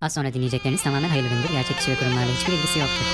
Az sonra dinleyecekleriniz tamamen hayırlı üründür. Gerçek kişi ve kurumlarla hiçbir ilgisi yoktur.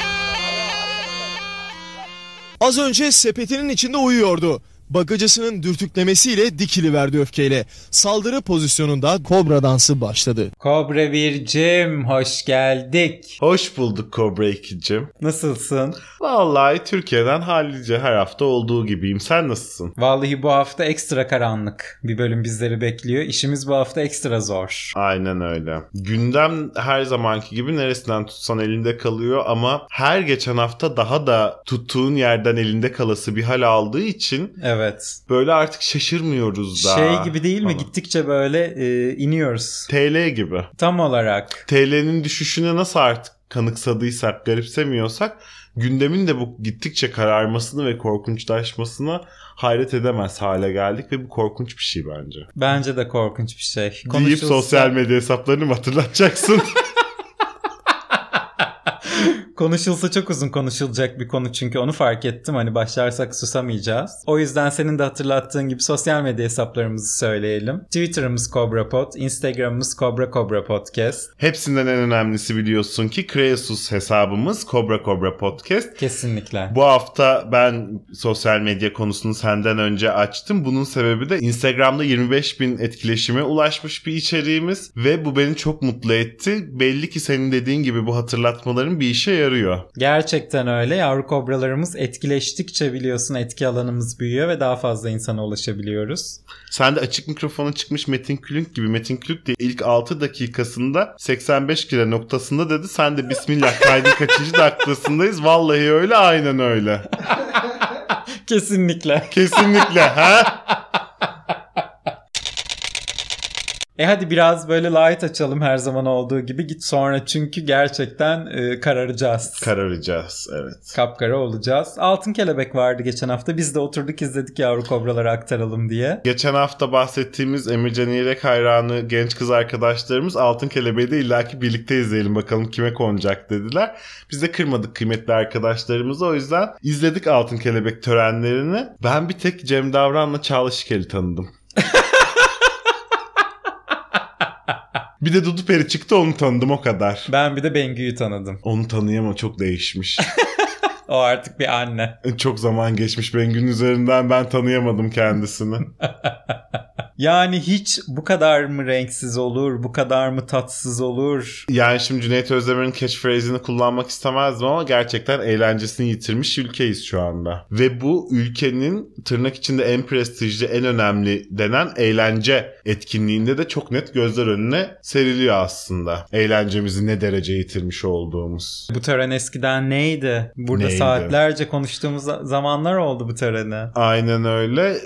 Az önce sepetinin içinde uyuyordu. Bagacısının dürtüklemesiyle dikiliverdi öfkeyle. Saldırı pozisyonunda kobra dansı başladı. Kobra Bircim hoş geldik. Hoş bulduk Cobra 2'cim. Nasılsın? Vallahi Türkiye'den hallice her hafta olduğu gibiyim. Sen nasılsın? Vallahi bu hafta ekstra karanlık. Bir bölüm bizleri bekliyor. İşimiz bu hafta ekstra zor. Aynen öyle. Gündem her zamanki gibi neresinden tutsan elinde kalıyor ama her geçen hafta daha da tuttuğun yerden elinde kalası bir hal aldığı için Evet. böyle artık şaşırmıyoruz da. Şey gibi değil mi? Falan. Gittikçe böyle e, iniyoruz. TL gibi. Tam olarak. TL'nin düşüşüne nasıl artık kanıksadıysak, garipsemiyorsak gündemin de bu gittikçe kararmasını ve korkunçlaşmasına hayret edemez hale geldik ve bu korkunç bir şey bence. Bence de korkunç bir şey. Deyip Konuşulsa- sosyal medya hesaplarını mı hatırlatacaksın? Konuşulsa çok uzun konuşulacak bir konu çünkü onu fark ettim. Hani başlarsak susamayacağız. O yüzden senin de hatırlattığın gibi sosyal medya hesaplarımızı söyleyelim. Twitter'ımız CobraPod, Instagram'ımız Cobra Cobra Podcast. Hepsinden en önemlisi biliyorsun ki Kreasus hesabımız Cobra Cobra Podcast. Kesinlikle. Bu hafta ben sosyal medya konusunu senden önce açtım. Bunun sebebi de Instagram'da 25 bin etkileşime ulaşmış bir içeriğimiz ve bu beni çok mutlu etti. Belli ki senin dediğin gibi bu hatırlatmaların bir işe yarıyor. Gerçekten öyle. Yavru kobralarımız etkileştikçe biliyorsun etki alanımız büyüyor ve daha fazla insana ulaşabiliyoruz. Sen de açık mikrofona çıkmış Metin Külünk gibi. Metin Külünk de ilk 6 dakikasında 85 kilo noktasında dedi. Sen de bismillah kaydın kaçıncı dakikasındayız. Vallahi öyle aynen öyle. Kesinlikle. Kesinlikle ha? E hadi biraz böyle light açalım her zaman olduğu gibi. Git sonra çünkü gerçekten e, kararacağız. Kararacağız evet. Kapkara olacağız. Altın Kelebek vardı geçen hafta. Biz de oturduk izledik yavru kobraları aktaralım diye. Geçen hafta bahsettiğimiz Emircan İrek hayranı genç kız arkadaşlarımız Altın Kelebeği de illaki birlikte izleyelim bakalım kime konacak dediler. Biz de kırmadık kıymetli arkadaşlarımızı o yüzden izledik Altın Kelebek törenlerini. Ben bir tek Cem Davran'la Çağla Şikel'i tanıdım. bir de Dudu Peri çıktı onu tanıdım o kadar. Ben bir de Bengü'yü tanıdım. Onu tanıyamam çok değişmiş. O artık bir anne. çok zaman geçmiş Bengü'nün üzerinden ben tanıyamadım kendisini. Yani hiç bu kadar mı renksiz olur, bu kadar mı tatsız olur? Yani şimdi Cüneyt Özdemir'in catchphrase'ini kullanmak istemezdim ama gerçekten eğlencesini yitirmiş ülkeyiz şu anda. Ve bu ülkenin tırnak içinde en prestijli, en önemli denen eğlence etkinliğinde de çok net gözler önüne seriliyor aslında. Eğlencemizi ne derece yitirmiş olduğumuz. Bu tören eskiden neydi? Burada Neydi? saatlerce konuştuğumuz zamanlar oldu bu töreni. Aynen öyle.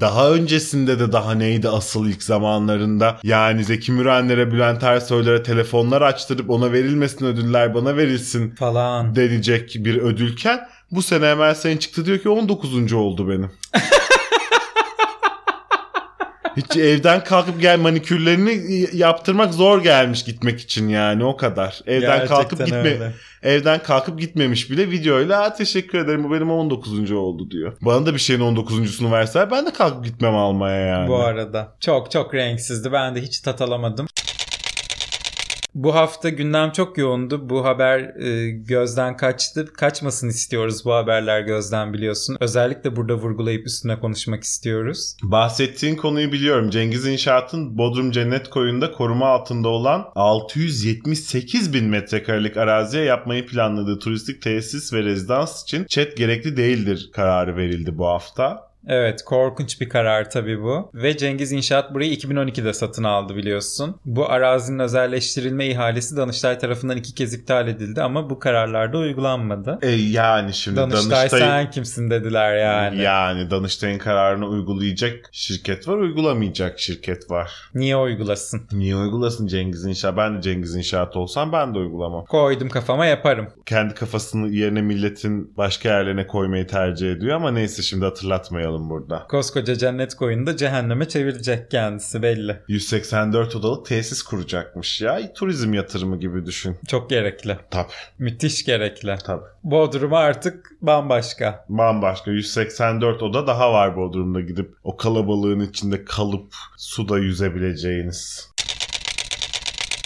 Daha öncesinde de daha neydi asıl ilk zamanlarında? Yani Zeki Mürenlere, Bülent Ersoylara telefonlar açtırıp ona verilmesin ödüller bana verilsin Falan. denilecek bir ödülken bu sene Emel Sayın çıktı diyor ki 19. oldu benim. Hiç evden kalkıp gel manikürlerini yaptırmak zor gelmiş gitmek için yani o kadar. Evden Gerçekten kalkıp gitme öyle. evden kalkıp gitmemiş bile videoyla "Aa, teşekkür ederim bu benim 19. oldu diyor. Bana da bir şeyin 19.sunu verseler ben de kalkıp gitmem almaya yani. Bu arada. Çok çok renksizdi. Ben de hiç tat alamadım. Bu hafta gündem çok yoğundu. Bu haber e, gözden kaçtı. Kaçmasın istiyoruz bu haberler gözden biliyorsun. Özellikle burada vurgulayıp üstüne konuşmak istiyoruz. Bahsettiğin konuyu biliyorum. Cengiz İnşaat'ın Bodrum Cennet Koyu'nda koruma altında olan 678 bin metrekarelik araziye yapmayı planladığı turistik tesis ve rezidans için çet gerekli değildir kararı verildi bu hafta. Evet korkunç bir karar tabii bu. Ve Cengiz İnşaat burayı 2012'de satın aldı biliyorsun. Bu arazinin özelleştirilme ihalesi Danıştay tarafından iki kez iptal edildi ama bu kararlarda uygulanmadı. E yani şimdi Danıştay, Danıştay sen kimsin dediler yani. yani Danıştay'ın kararını uygulayacak şirket var, uygulamayacak şirket var. Niye uygulasın? Niye uygulasın Cengiz İnşaat? Ben de Cengiz İnşaat olsam ben de uygulamam. Koydum kafama yaparım. Kendi kafasını yerine milletin başka yerlerine koymayı tercih ediyor ama neyse şimdi hatırlatmayalım burada. Koskoca cennet koyunu da cehenneme çevirecek kendisi belli. 184 odalık tesis kuracakmış ya. Turizm yatırımı gibi düşün. Çok gerekli. Tabii. Müthiş gerekli. Tabii. Bodrum artık bambaşka. Bambaşka 184 oda daha var Bodrum'da gidip o kalabalığın içinde kalıp suda yüzebileceğiniz.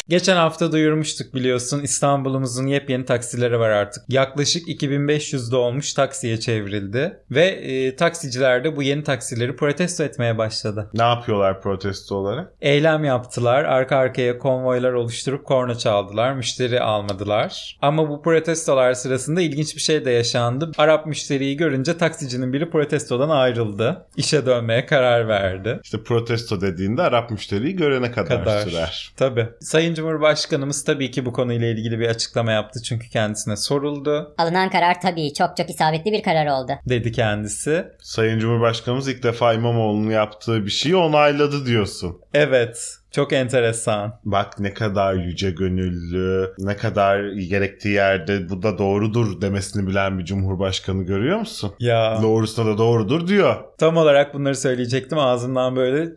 Geçen hafta duyurmuştuk biliyorsun İstanbul'umuzun yepyeni taksileri var artık. Yaklaşık 2500 dolmuş taksiye çevrildi ve e, taksiciler de bu yeni taksileri protesto etmeye başladı. Ne yapıyorlar protesto olarak? Eylem yaptılar, arka arkaya konvoylar oluşturup korna çaldılar, müşteri almadılar. Ama bu protestolar sırasında ilginç bir şey de yaşandı. Arap müşteriyi görünce taksicinin biri protestodan ayrıldı. İşe dönmeye karar verdi. İşte protesto dediğinde Arap müşteriyi görene kadar, kadar. sürer. Tabii. Sayın Cumhurbaşkanımız tabii ki bu konuyla ilgili bir açıklama yaptı çünkü kendisine soruldu Alınan karar tabii çok çok isabetli bir karar oldu. dedi kendisi. Sayın Cumhurbaşkanımız ilk defa İmamoğlu'nun yaptığı bir şeyi onayladı diyorsun. Evet. Çok enteresan. Bak ne kadar yüce gönüllü, ne kadar gerektiği yerde bu da doğrudur demesini bilen bir cumhurbaşkanı görüyor musun? Ya Doğrusuna da doğrudur diyor. tam olarak bunları söyleyecektim ağzından böyle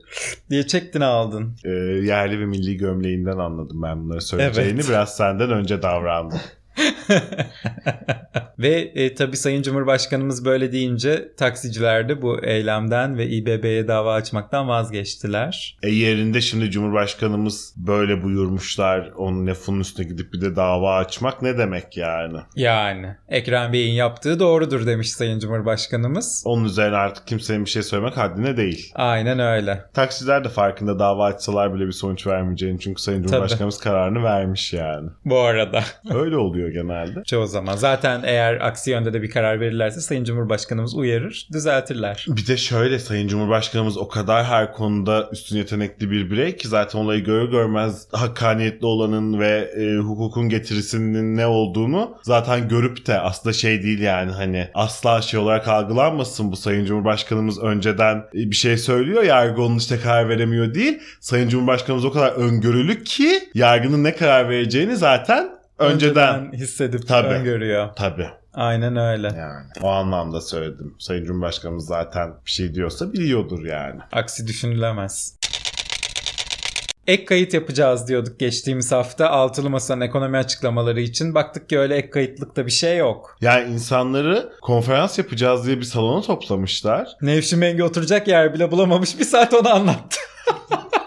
diye çektin aldın. Ee, yerli ve milli gömleğinden anladım ben bunları söyleyeceğini. Evet. Biraz senden önce davrandım. ve e, tabii Sayın Cumhurbaşkanımız böyle deyince taksiciler de bu eylemden ve İBB'ye dava açmaktan vazgeçtiler. E yerinde şimdi Cumhurbaşkanımız böyle buyurmuşlar onun lafının üstüne gidip bir de dava açmak ne demek yani? Yani Ekrem Bey'in yaptığı doğrudur demiş Sayın Cumhurbaşkanımız. Onun üzerine artık kimsenin bir şey söylemek haddine değil. Aynen öyle. Taksiciler de farkında dava açsalar bile bir sonuç vermeyeceğini çünkü Sayın Cumhurbaşkanımız kararını vermiş yani. Bu arada. Öyle oluyor genelde. Çoğu zaman. Zaten eğer aksi yönde de bir karar verirlerse Sayın Cumhurbaşkanımız uyarır, düzeltirler. Bir de şöyle Sayın Cumhurbaşkanımız o kadar her konuda üstün yetenekli bir birey ki zaten olayı görür görmez hakkaniyetli olanın ve e, hukukun getirisinin ne olduğunu zaten görüp de aslında şey değil yani hani asla şey olarak algılanmasın bu Sayın Cumhurbaşkanımız önceden e, bir şey söylüyor yargı onun işte karar veremiyor değil. Sayın Cumhurbaşkanımız o kadar öngörülü ki yargının ne karar vereceğini zaten önceden, hissedip Tabii. öngörüyor. tabii Aynen öyle. yani o anlamda söyledim. Sayın Cumhurbaşkanımız zaten bir şey diyorsa biliyordur yani. Aksi düşünülemez. Ek kayıt yapacağız diyorduk geçtiğimiz hafta altılı masanın ekonomi açıklamaları için. Baktık ki öyle ek kayıtlıkta bir şey yok. Yani insanları konferans yapacağız diye bir salona toplamışlar. Nevşin Mengi oturacak yer bile bulamamış bir saat onu anlattı.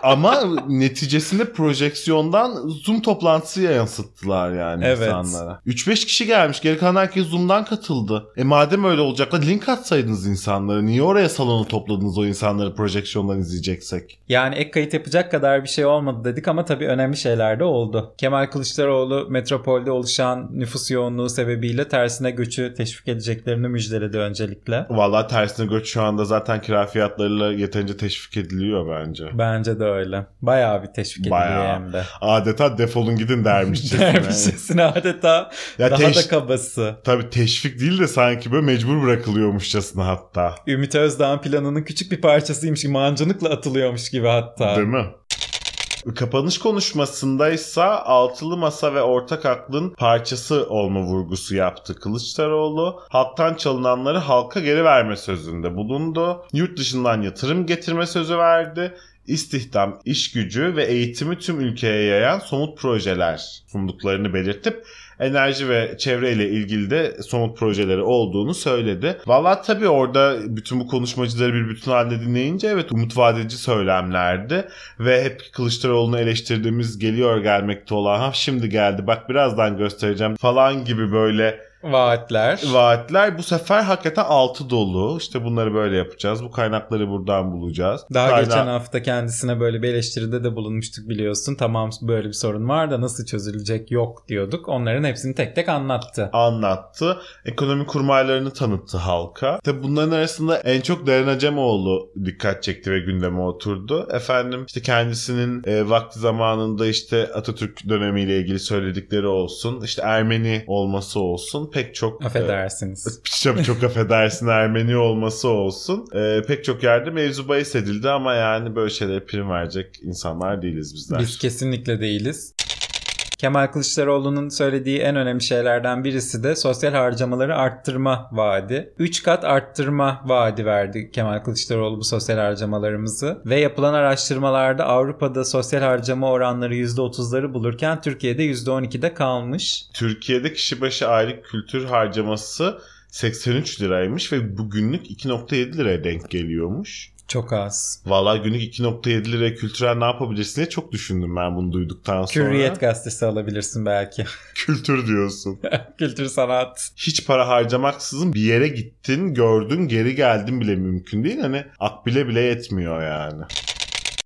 Ama neticesinde projeksiyondan Zoom toplantısı yansıttılar yani Evet. insanlara. 3-5 kişi gelmiş. Geri kalan herkes Zoom'dan katıldı. E madem öyle olacak da link atsaydınız insanlara. Niye oraya salonu topladınız o insanları projeksiyondan izleyeceksek? Yani ek kayıt yapacak kadar bir şey olmadı dedik ama tabii önemli şeyler de oldu. Kemal Kılıçdaroğlu metropolde oluşan nüfus yoğunluğu sebebiyle tersine göçü teşvik edeceklerini müjdeledi öncelikle. Vallahi tersine göç şu anda zaten kira fiyatlarıyla yeterince teşvik ediliyor bence. Bence de öyle. Bayağı bir teşvik ediliyor Bayağı. hem de. Adeta defolun gidin dermişçesine. Dermişçesine adeta ya daha teş- da kabası. Tabii teşvik değil de sanki böyle mecbur bırakılıyormuşçasına hatta. Ümit Özdağ'ın planının küçük bir parçasıymış gibi mancınıkla atılıyormuş gibi hatta. Değil mi? Kapanış konuşmasındaysa altılı masa ve ortak aklın parçası olma vurgusu yaptı Kılıçdaroğlu. Halktan çalınanları halka geri verme sözünde bulundu. Yurt dışından yatırım getirme sözü verdi. İstihdam, iş gücü ve eğitimi tüm ülkeye yayan somut projeler sunduklarını belirtip enerji ve çevreyle ilgili de somut projeleri olduğunu söyledi. Valla tabii orada bütün bu konuşmacıları bir bütün halde dinleyince evet umut vadeci söylemlerdi ve hep Kılıçdaroğlu'nu eleştirdiğimiz geliyor gelmekte olan ha şimdi geldi bak birazdan göstereceğim falan gibi böyle Vaatler. vaatler bu sefer hakikaten altı dolu. İşte bunları böyle yapacağız. Bu kaynakları buradan bulacağız. daha Kayna- geçen hafta kendisine böyle bir eleştiride de bulunmuştuk biliyorsun. Tamam böyle bir sorun var da nasıl çözülecek yok diyorduk. Onların hepsini tek tek anlattı. anlattı. Ekonomi kurmaylarını tanıttı halka. Tabi bunların arasında en çok Deren Acemoğlu dikkat çekti ve gündeme oturdu. Efendim işte kendisinin e, vakti zamanında işte Atatürk dönemiyle ilgili söyledikleri olsun, işte Ermeni olması olsun pek çok e, Affedersiniz. çok, çok affedersin Ermeni olması olsun. Ee, pek çok yerde mevzu bahis edildi ama yani böyle şeylere prim verecek insanlar değiliz bizler. Biz kesinlikle değiliz. Kemal Kılıçdaroğlu'nun söylediği en önemli şeylerden birisi de sosyal harcamaları arttırma vaadi. 3 kat arttırma vaadi verdi Kemal Kılıçdaroğlu bu sosyal harcamalarımızı. Ve yapılan araştırmalarda Avrupa'da sosyal harcama oranları %30'ları bulurken Türkiye'de %12'de kalmış. Türkiye'de kişi başı aylık kültür harcaması 83 liraymış ve bugünlük 2.7 liraya denk geliyormuş. Çok az. Valla günlük 2.7 liraya kültürel ne yapabilirsin diye çok düşündüm ben bunu duyduktan sonra. Hürriyet gazetesi alabilirsin belki. Kültür diyorsun. Kültür sanat. hiç para harcamaksızın bir yere gittin, gördün, geri geldin bile mümkün değil. Hani akbile bile yetmiyor yani.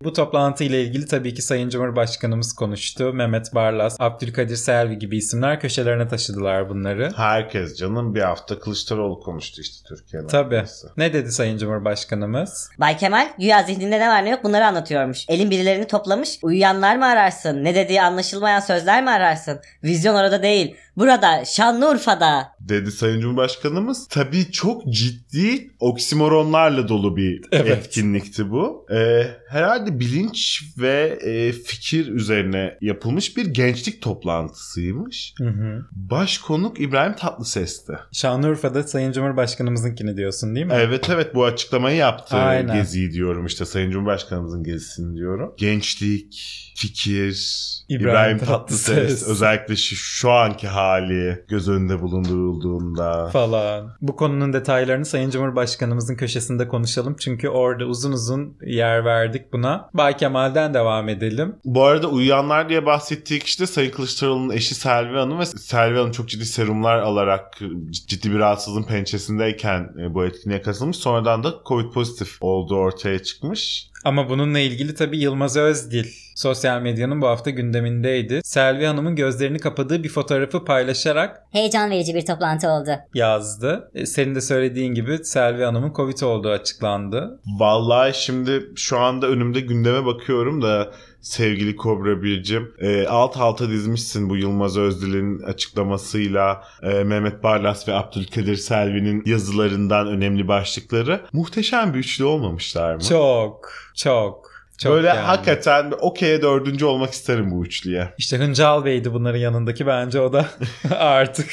Bu toplantı ile ilgili tabii ki Sayın Cumhurbaşkanımız konuştu. Mehmet Barlas, Abdülkadir Selvi gibi isimler köşelerine taşıdılar bunları. Herkes canım bir hafta Kılıçdaroğlu konuştu işte Türkiye'nin. Tabii. Neyse. Ne dedi Sayın Cumhurbaşkanımız? Bay Kemal güya zihninde ne var ne yok bunları anlatıyormuş. Elin birilerini toplamış. Uyuyanlar mı ararsın? Ne dediği anlaşılmayan sözler mi ararsın? Vizyon orada değil. Burada Şanlıurfa'da. Dedi Sayın Cumhurbaşkanımız. Tabii çok ciddi oksimoronlarla dolu bir Evet. etkinlikti bu. Ee, herhalde bilinç ve e, fikir üzerine yapılmış bir gençlik toplantısıymış. Hı hı. Başkonuk İbrahim Tatlıses'ti. Şanlıurfa'da Sayın Cumhurbaşkanımızınkini diyorsun değil mi? Evet evet bu açıklamayı yaptı Aynen. geziyi diyorum işte Sayın Cumhurbaşkanımızın gezisini diyorum. Gençlik, fikir, İbrahim, İbrahim Tatlıses, Tatlıses. özellikle şu, şu anki hali göz önünde bulundurulduğunda. falan. Bu konunun detaylarını Sayın Cumhurbaşkanımızın köşesinde konuşalım. Çünkü orada uzun uzun yer verdik buna. Bay Kemal'den devam edelim. Bu arada uyuyanlar diye bahsettiği kişi de Sayın Kılıçdaroğlu'nun eşi Selvi Hanım ve Selvi Hanım çok ciddi serumlar alarak ciddi bir rahatsızlığın pençesindeyken e, bu etkinliğe katılmış. Sonradan da Covid pozitif olduğu ortaya çıkmış. Ama bununla ilgili tabii Yılmaz Özdil sosyal medyanın bu hafta gündemindeydi. Selvi Hanım'ın gözlerini kapadığı bir fotoğrafı paylaşarak Heyecan verici bir toplantı oldu. yazdı. E, Senin de söylediğin gibi Selvi Hanım'ın Covid olduğu açıklandı. Vallahi şimdi şu anda önümde gündeme bakıyorum da sevgili Kobra Bircim e, alt alta dizmişsin bu Yılmaz Özdil'in açıklamasıyla e, Mehmet Barlas ve Abdülkadir Selvi'nin yazılarından önemli başlıkları. Muhteşem bir üçlü olmamışlar mı? Çok, çok, çok Böyle yani. hakikaten bir okey'e dördüncü olmak isterim bu üçlüye. İşte Hıncal Bey'di bunların yanındaki bence o da artık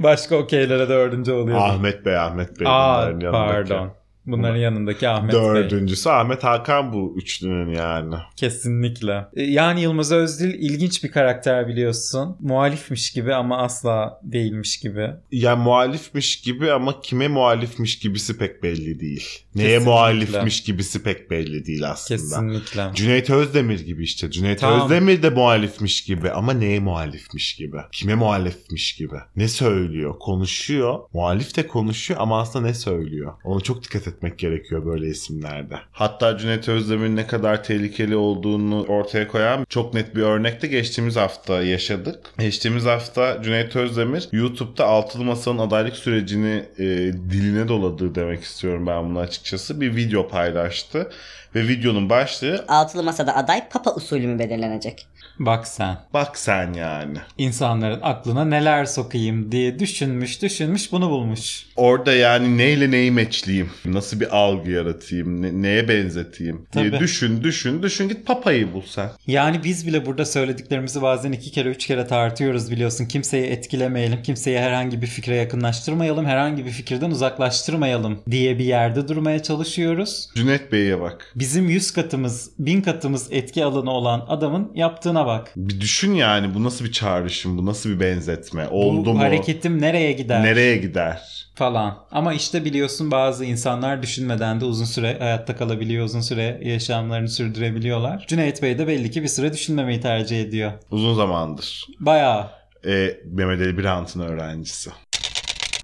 başka okeylere dördüncü oluyor. Ahmet Bey, Ahmet Bey. Aa bunların yanındaki. pardon. Bunların yanındaki Ahmet Bey. Dördüncüsü Ahmet Hakan bu üçlünün yani. Kesinlikle. E, Yani Yılmaz Özdil ilginç bir karakter biliyorsun. Muhalifmiş gibi ama asla değilmiş gibi. Ya muhalifmiş gibi ama kime muhalifmiş gibisi pek belli değil. Neye Kesinlikle. muhalifmiş gibisi pek belli değil aslında. Kesinlikle. Cüneyt Özdemir gibi işte. Cüneyt Tam. Özdemir de muhalifmiş gibi ama neye muhalifmiş gibi? Kime muhalifmiş gibi? Ne söylüyor? Konuşuyor. Muhalif de konuşuyor ama aslında ne söylüyor? Ona çok dikkat etmek gerekiyor böyle isimlerde. Hatta Cüneyt Özdemir'in ne kadar tehlikeli olduğunu ortaya koyan çok net bir örnek de geçtiğimiz hafta yaşadık. Geçtiğimiz hafta Cüneyt Özdemir YouTube'da Altılı Masa'nın adaylık sürecini e, diline doladığı demek istiyorum ben bunu açıkçası. Bir video paylaştı ve videonun başlığı Altılı masada aday papa usulü mü belirlenecek? Bak sen. Bak sen yani. insanların aklına neler sokayım diye düşünmüş düşünmüş bunu bulmuş. Orada yani neyle neyi meçleyeyim? Nasıl bir algı yaratayım? ne- neye benzeteyim? Diye Tabii. düşün düşün düşün git papayı bul sen. Yani biz bile burada söylediklerimizi bazen iki kere üç kere tartıyoruz biliyorsun. Kimseyi etkilemeyelim, kimseyi herhangi bir fikre yakınlaştırmayalım, herhangi bir fikirden uzaklaştırmayalım diye bir yerde durmaya çalışıyoruz. Cüneyt Bey'e bak. Bizim yüz katımız, bin katımız etki alanı olan adamın yaptığına bak. Bir düşün yani bu nasıl bir çağrışım? Bu nasıl bir benzetme? Oldu Bu mu? hareketim nereye gider? Nereye gider? falan. Ama işte biliyorsun bazı insanlar düşünmeden de uzun süre hayatta kalabiliyor, uzun süre yaşamlarını sürdürebiliyorlar. Cüneyt Bey de belli ki bir süre düşünmemeyi tercih ediyor. Uzun zamandır. Bayağı. E, Mehmet Ali Birant'ın öğrencisi.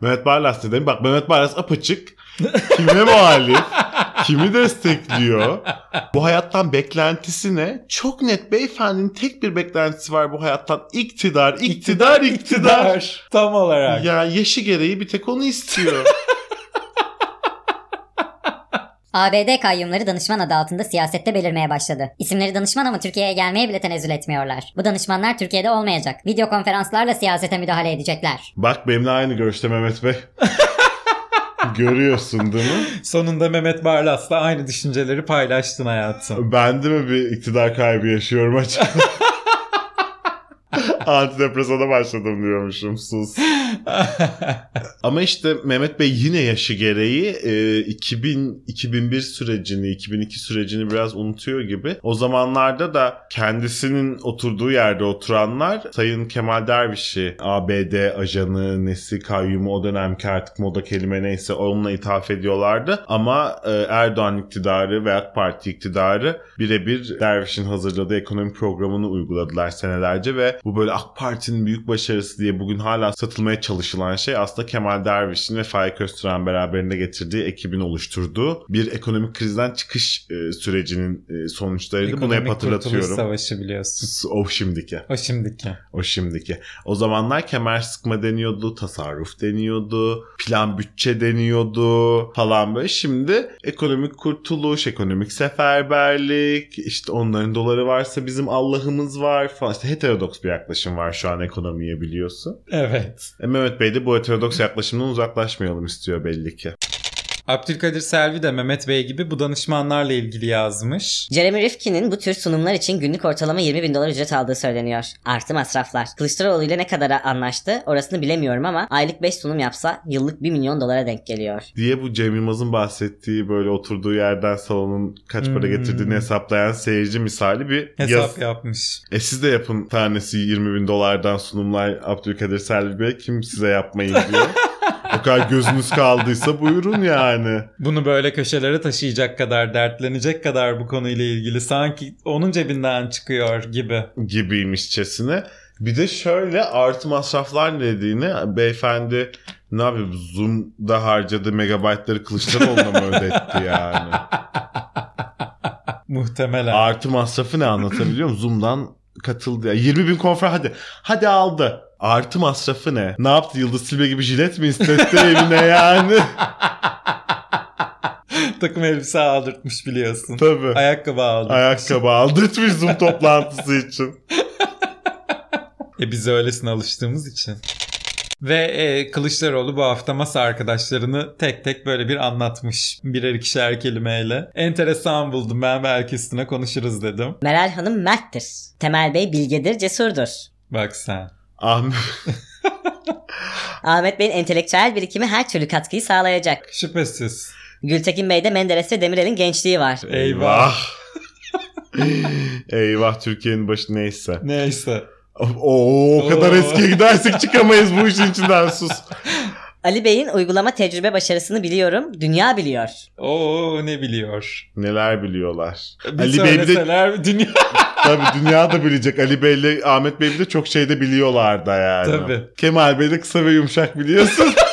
Mehmet Barlas dedim. Bak Mehmet Barlas apaçık. Kime muhalif? Kimi destekliyor? Bu hayattan beklentisi ne? Çok net beyefendinin tek bir beklentisi var bu hayattan. İktidar, iktidar, iktidar. Tam olarak. Ya yaşı gereği bir tek onu istiyor. ABD kayyumları danışman adı altında siyasette belirmeye başladı. İsimleri danışman ama Türkiye'ye gelmeye bile tenezzül etmiyorlar. Bu danışmanlar Türkiye'de olmayacak. Video konferanslarla siyasete müdahale edecekler. Bak benimle aynı görüşte Mehmet Bey. Görüyorsun değil mi? Sonunda Mehmet Barlas'la aynı düşünceleri paylaştın hayatım. Ben de mi bir iktidar kaybı yaşıyorum acaba? Antidepresana başladım diyormuşum sus. Ama işte Mehmet Bey yine yaşı gereği e, 2000 2001 sürecini, 2002 sürecini biraz unutuyor gibi. O zamanlarda da kendisinin oturduğu yerde oturanlar Sayın Kemal Derviş'i, ABD ajanı, nesi, kayyumu o dönemki artık moda kelime neyse onunla ithaf ediyorlardı. Ama e, Erdoğan iktidarı ve AK Parti iktidarı birebir Derviş'in hazırladığı ekonomi programını uyguladılar senelerce ve bu böyle AK Parti'nin büyük başarısı diye bugün hala satılmaya çalışılan şey aslında Kemal Derviş'in ve Faik Öztürk'ün beraberinde getirdiği ekibin oluşturduğu bir ekonomik krizden çıkış e, sürecinin e, sonuçlarıydı. Bunu hep Ekonomik Kurtuluş hatırlatıyorum. Savaşı biliyorsun. O şimdiki. O şimdiki. O şimdiki. O zamanlar kemer sıkma deniyordu, tasarruf deniyordu, plan bütçe deniyordu falan böyle. Şimdi ekonomik kurtuluş, ekonomik seferberlik, işte onların doları varsa bizim Allah'ımız var falan. İşte heterodoks bir yaklaşım var şu an ekonomiye biliyorsun. Evet. E Mehmet Bey de bu heterodoks yaklaşımdan uzaklaşmayalım istiyor belli ki. Abdülkadir Selvi de Mehmet Bey gibi bu danışmanlarla ilgili yazmış. Jeremy Rifkin'in bu tür sunumlar için günlük ortalama 20 bin dolar ücret aldığı söyleniyor. Artı masraflar. Kılıçdaroğlu ile ne kadara anlaştı orasını bilemiyorum ama aylık 5 sunum yapsa yıllık 1 milyon dolara denk geliyor. diye bu Cem Yılmaz'ın bahsettiği böyle oturduğu yerden salonun kaç para Hmm. getirdiğini hesaplayan seyirci misali bir Hesap yaz- yapmış. E siz de yapın tanesi 20 bin dolardan sunumlar Abdülkadir Selvi Bey kim size yapmayın diyor. o kadar gözünüz kaldıysa buyurun yani. Bunu böyle köşelere taşıyacak kadar, dertlenecek kadar bu konuyla ilgili sanki onun cebinden çıkıyor gibi. Gibiymişçesine. Bir de şöyle artı masraflar ne dediğini beyefendi ne yapayım Zoom'da harcadığı megabaytları Kılıçdaroğlu'na mı ödetti yani? Muhtemelen. Artı masrafı ne anlatabiliyor muyum? Zoom'dan katıldı. Ya. 20 bin konfer hadi. Hadi aldı. Artı masrafı ne? Ne yaptı? Yıldız Silbe gibi jilet mi istetti evine yani? Takım elbise aldırtmış biliyorsun. Tabii. Ayakkabı aldırtmış. Ayakkabı aldırtmış Zoom toplantısı için. E biz öylesine alıştığımız için. Ve e, Kılıçdaroğlu bu hafta masa arkadaşlarını tek tek böyle bir anlatmış. Birer ikişer kelimeyle. Enteresan buldum ben belki üstüne konuşuruz dedim. Meral Hanım merttir. Temel Bey bilgedir, cesurdur. Bak sen. Ahmet Ahmet Bey'in entelektüel birikimi her türlü katkıyı sağlayacak. Şüphesiz. Gültekin Bey'de Menderes ve Demirel'in gençliği var. Eyvah. Eyvah Türkiye'nin başı neyse. Neyse. Oo, o kadar Oo. eskiye gidersek çıkamayız bu işin içinden sus. Ali Bey'in uygulama tecrübe başarısını biliyorum, dünya biliyor. Oo ne biliyor. Neler biliyorlar. Bir Ali Bey bir de söyleseler dünya. Tabii dünya da bilecek. Ali Bey'le Ahmet Bey de çok şey de biliyorlar da yani. Tabii. Kemal Bey de kısa ve yumuşak biliyorsun.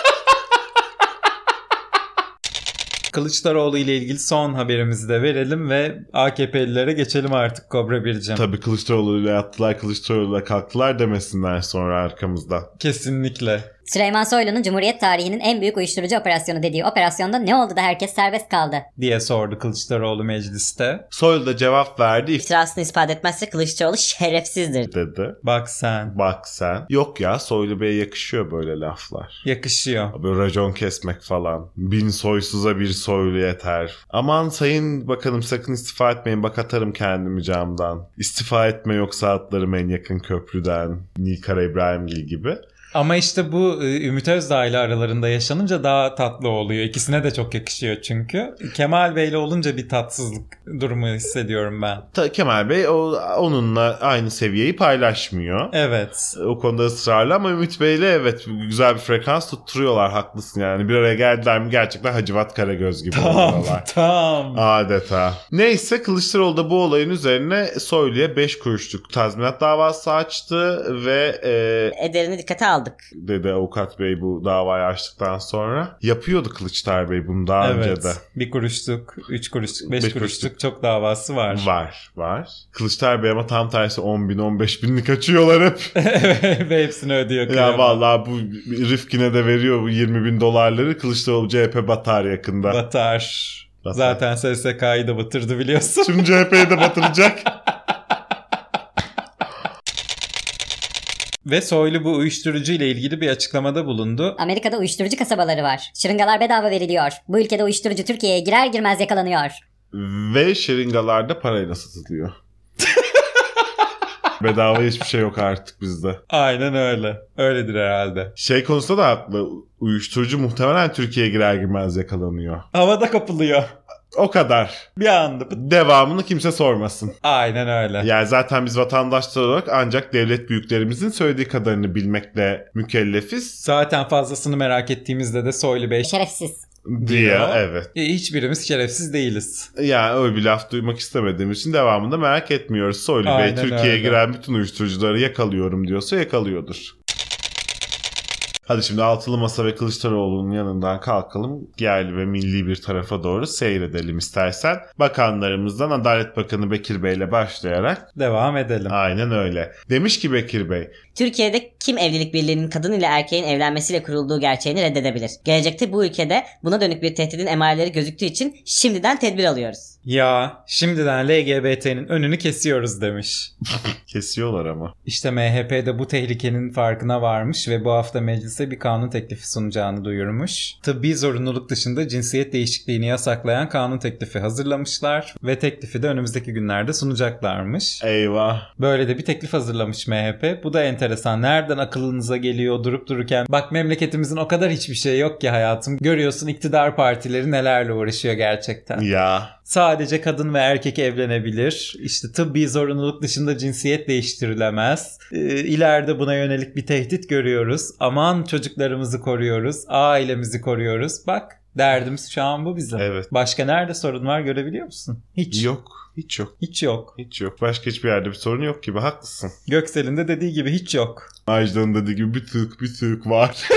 Kılıçdaroğlu ile ilgili son haberimizi de verelim ve AKP'lilere geçelim artık Kobra Bircim. Tabii Kılıçdaroğlu'yla yattılar, Kılıçdaroğlu'yla kalktılar demesinler sonra arkamızda. Kesinlikle. Süleyman Soylu'nun Cumhuriyet tarihinin en büyük uyuşturucu operasyonu dediği operasyonda ne oldu da herkes serbest kaldı? diye sordu Kılıçdaroğlu mecliste. Soylu da cevap verdi "İf- İftirasını ispat etmezse Kılıçdaroğlu şerefsizdir dedi. Bak sen. Bak sen. Yok ya Soylu Bey'e yakışıyor böyle laflar. Yakışıyor. Böyle racon kesmek falan. Bin soysuza bir soylu yeter. Aman sayın bakanım sakın istifa etmeyin. Bak atarım kendimi camdan. İstifa etme yoksa atlarım en yakın köprüden. Nilkara İbrahimgil gibi. Ama işte bu e, Ümit Özdağ ile aralarında yaşanınca daha tatlı oluyor. İkisine de çok yakışıyor çünkü. Kemal Bey'le olunca bir tatsızlık durumu hissediyorum ben. Ta- Kemal Bey o, onunla aynı seviyeyi paylaşmıyor. Evet. O konuda ısrarlı ama Ümit Bey'le evet güzel bir frekans tutturuyorlar haklısın yani. Bir araya geldiler mi gerçekten Hacivat Karagöz gibi Tam, oluyorlar. tam. Adeta. Neyse Kılıçdaroğlu da bu olayın üzerine Soylu'ya 5 kuruşluk tazminat davası açtı ve e, Ederini dikkate aldık. dedi avukat bey bu davayı açtıktan sonra. Yapıyordu Kılıçdaroğlu Bey bunu daha önce Evet. de. Bir kuruşluk, üç kuruşluk, beş, Beş kuruşluk, kuruşluk. çok davası var. Var var. Kılıçdaroğlu Bey ama tam tersi 10 bin 15 binlik açıyorlar hep. Ve hepsini ödüyor. Ya kıyamam. vallahi bu Rifkin'e de veriyor bu 20 bin dolarları. Kılıçdaroğlu CHP batar yakında. Batar. Batar. Zaten SSK'yı da batırdı biliyorsun. Şimdi CHP'yi de batıracak. Ve Soylu bu uyuşturucu ile ilgili bir açıklamada bulundu. Amerika'da uyuşturucu kasabaları var. Şırıngalar bedava veriliyor. Bu ülkede uyuşturucu Türkiye'ye girer girmez yakalanıyor. Ve şırıngalarda parayla satılıyor. Bedava hiçbir şey yok artık bizde. Aynen öyle. Öyledir herhalde. Şey konusunda da haklı. Uyuşturucu muhtemelen Türkiye'ye girer girmez yakalanıyor. Havada kapılıyor. O kadar. Bir anda. pıt. Devamını kimse sormasın. Aynen öyle. Yani zaten biz vatandaşlar olarak ancak devlet büyüklerimizin söylediği kadarını bilmekle mükellefiz Zaten fazlasını merak ettiğimizde de Soylu Bey Şerefsiz. diye. Diyor. Evet. E, hiçbirimiz şerefsiz değiliz. Yani öyle bir laf duymak istemediğim için devamında merak etmiyoruz. Soylu Bey Aynen Türkiye'ye öyle. giren bütün uyuşturucuları yakalıyorum diyorsa yakalıyordur. Hadi şimdi Altılı Masa ve Kılıçdaroğlu'nun yanından kalkalım. Yerli ve milli bir tarafa doğru seyredelim istersen. Bakanlarımızdan Adalet Bakanı Bekir Bey ile başlayarak. Devam edelim. Aynen öyle. Demiş ki Bekir Bey, Türkiye'de kim evlilik birliğinin kadın ile erkeğin evlenmesiyle kurulduğu gerçeğini reddedebilir. Gelecekte bu ülkede buna dönük bir tehdidin emareleri gözüktüğü için şimdiden tedbir alıyoruz. Ya şimdiden LGBT'nin önünü kesiyoruz demiş. kesiyorlar ama. İşte MHP'de bu tehlikenin farkına varmış ve bu hafta meclise bir kanun teklifi sunacağını duyurmuş. Tıbbi zorunluluk dışında cinsiyet değişikliğini yasaklayan kanun teklifi hazırlamışlar ve teklifi de önümüzdeki günlerde sunacaklarmış. Eyvah. Böyle de bir teklif hazırlamış MHP. Bu da enteresan. Nereden akılınıza geliyor durup dururken? Bak memleketimizin o kadar hiçbir şey yok ki hayatım. Görüyorsun iktidar partileri nelerle uğraşıyor gerçekten. Ya. Sadece kadın ve erkek evlenebilir. İşte tıbbi zorunluluk dışında cinsiyet değiştirilemez. Ee, ileride buna yönelik bir tehdit görüyoruz. Aman çocuklarımızı koruyoruz. Ailemizi koruyoruz. Bak derdimiz şu an bu bizim. Evet. Başka nerede sorun var görebiliyor musun? Hiç. Yok. Hiç yok. Hiç yok. Hiç yok. Başka hiçbir yerde bir sorun yok gibi. Haklısın. Göksel'in de dediği gibi hiç yok. Ajda'nın dediği gibi bir tık bir tık var.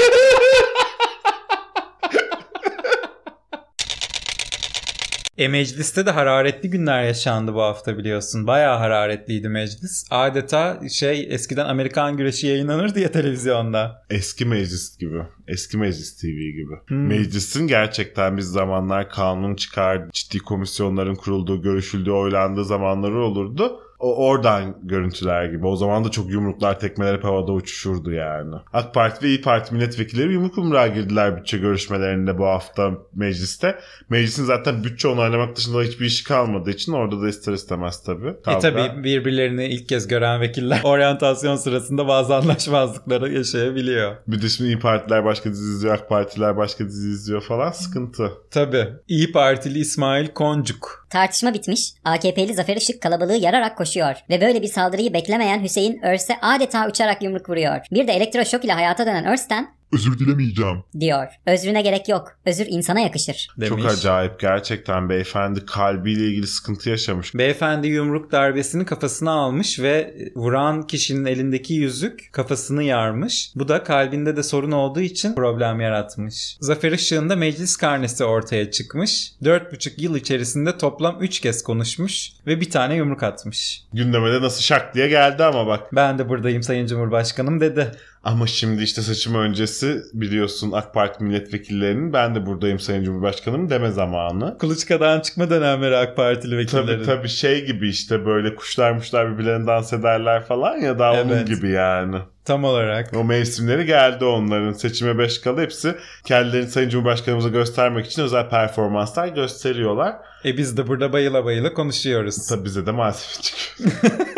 E mecliste de hararetli günler yaşandı bu hafta biliyorsun. Bayağı hararetliydi meclis. Adeta şey eskiden Amerikan güreşi yayınlanır diye televizyonda. Eski meclis gibi. Eski meclis TV gibi. Hmm. Meclisin gerçekten bir zamanlar kanun çıkar, ciddi komisyonların kurulduğu, görüşüldüğü, oylandığı zamanları olurdu. O oradan görüntüler gibi. O zaman da çok yumruklar, tekmeler hep havada uçuşurdu yani. AK Parti ve İyi Parti milletvekilleri yumruk yumruğa girdiler bütçe görüşmelerinde bu hafta mecliste. Meclisin zaten bütçe onaylamak dışında hiçbir işi kalmadığı için orada da ister istemez tabii. E Kavga. tabi birbirlerini ilk kez gören vekiller oryantasyon sırasında bazı anlaşmazlıkları yaşayabiliyor. Bir de şimdi İYİ Partiler başka dizi izliyor, AK Partiler başka dizi izliyor falan sıkıntı. Tabi. İyi Partili İsmail Koncuk. Tartışma bitmiş. AKP'li Zafer Işık kalabalığı yararak koşuyor. Ve böyle bir saldırıyı beklemeyen Hüseyin Örs'e adeta uçarak yumruk vuruyor. Bir de elektroşok ile hayata dönen Örs'ten Özür dilemeyeceğim. diyor. Özrüne gerek yok. Özür insana yakışır. Demiş. Çok acayip gerçekten beyefendi kalbiyle ilgili sıkıntı yaşamış. Beyefendi yumruk darbesini kafasına almış ve e, vuran kişinin elindeki yüzük kafasını yarmış. Bu da kalbinde de sorun olduğu için problem yaratmış. Zafer Işık'ın da meclis karnesi ortaya çıkmış. 4,5 yıl içerisinde toplam 3 kez konuşmuş ve bir tane yumruk atmış. Gündeme de nasıl şak diye geldi ama bak. Ben de buradayım Sayın Cumhurbaşkanım dedi. Ama şimdi işte seçim öncesi biliyorsun AK Parti milletvekillerinin ben de buradayım Sayın Cumhurbaşkanım deme zamanı. E Kuluçka'dan çıkma dönemleri AK Partili vekillerin. Tabii tabii şey gibi işte böyle kuşlarmışlar birbirlerine dans ederler falan ya daha onun Evet. gibi yani. Tam olarak. O mevsimleri geldi onların. Seçime 5 kalı hepsi kendilerini Sayın Cumhurbaşkanımıza göstermek için özel performanslar gösteriyorlar. E biz de burada bayıla bayıla konuşuyoruz. Tabii bize de malzeme çıkıyor.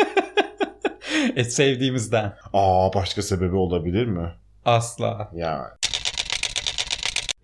e sevdiğimizden. Aa başka sebebi olabilir mi? Asla. Yani.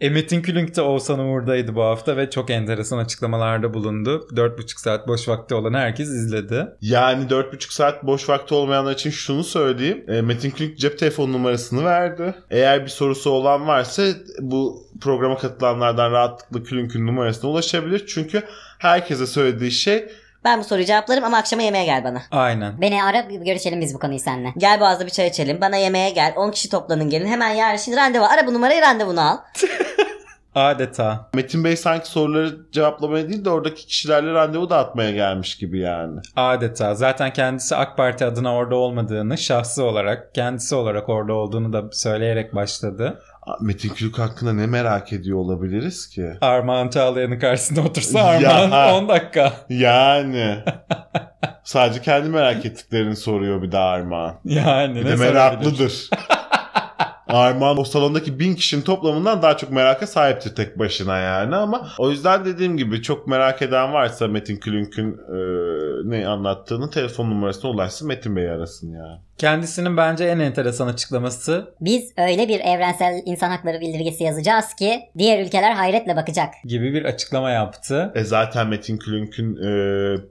E, Metin Külünk de Oğuzhan Uğur'daydı bu hafta ve çok enteresan açıklamalarda bulundu. 4,5 saat boş vakti olan herkes izledi. Yani 4,5 saat boş vakti olmayanlar için şunu söyleyeyim. E, Metin Külünk cep telefon numarasını verdi. Eğer bir sorusu olan varsa bu programa katılanlardan rahatlıkla Külünk'ün numarasına ulaşabilir. Çünkü herkese söylediği şey Ben bu soruyu cevaplarım ama akşama yemeğe gel bana. Aynen. Beni ara bir görüşelim biz bu konuyu seninle. Gel Boğaz'da bir çay içelim. Bana yemeğe gel. 10 kişi toplanın gelin. Hemen yarın şimdi randevu. Ara bu numarayı randevunu al. Adeta. Metin Bey sanki soruları cevaplamaya değil de oradaki kişilerle randevu dağıtmaya gelmiş gibi yani. Adeta. Zaten kendisi AK Parti adına orada olmadığını, şahsı olarak, kendisi olarak orada olduğunu da söyleyerek başladı. Aa, Metin Külük hakkında ne merak ediyor olabiliriz ki? Armağan Çağlayan'ın karşısında otursa Ya. Armağan 10 dakika. Yani. Sadece kendi merak ettiklerini soruyor bir de Armağan. Yani Bir ne de sorabilir? meraklıdır. Armağan o salondaki bin kişinin toplamından daha çok meraka sahiptir tek başına yani ama o yüzden dediğim gibi çok merak eden varsa Metin Külünk'ün e, ne anlattığını telefon numarasına ulaşsın Metin Bey arasın yani. Kendisinin bence en enteresan açıklaması Biz öyle bir evrensel insan hakları bildirgesi yazacağız ki diğer ülkeler hayretle bakacak. gibi bir açıklama yaptı. E zaten Metin Külünk'ün e,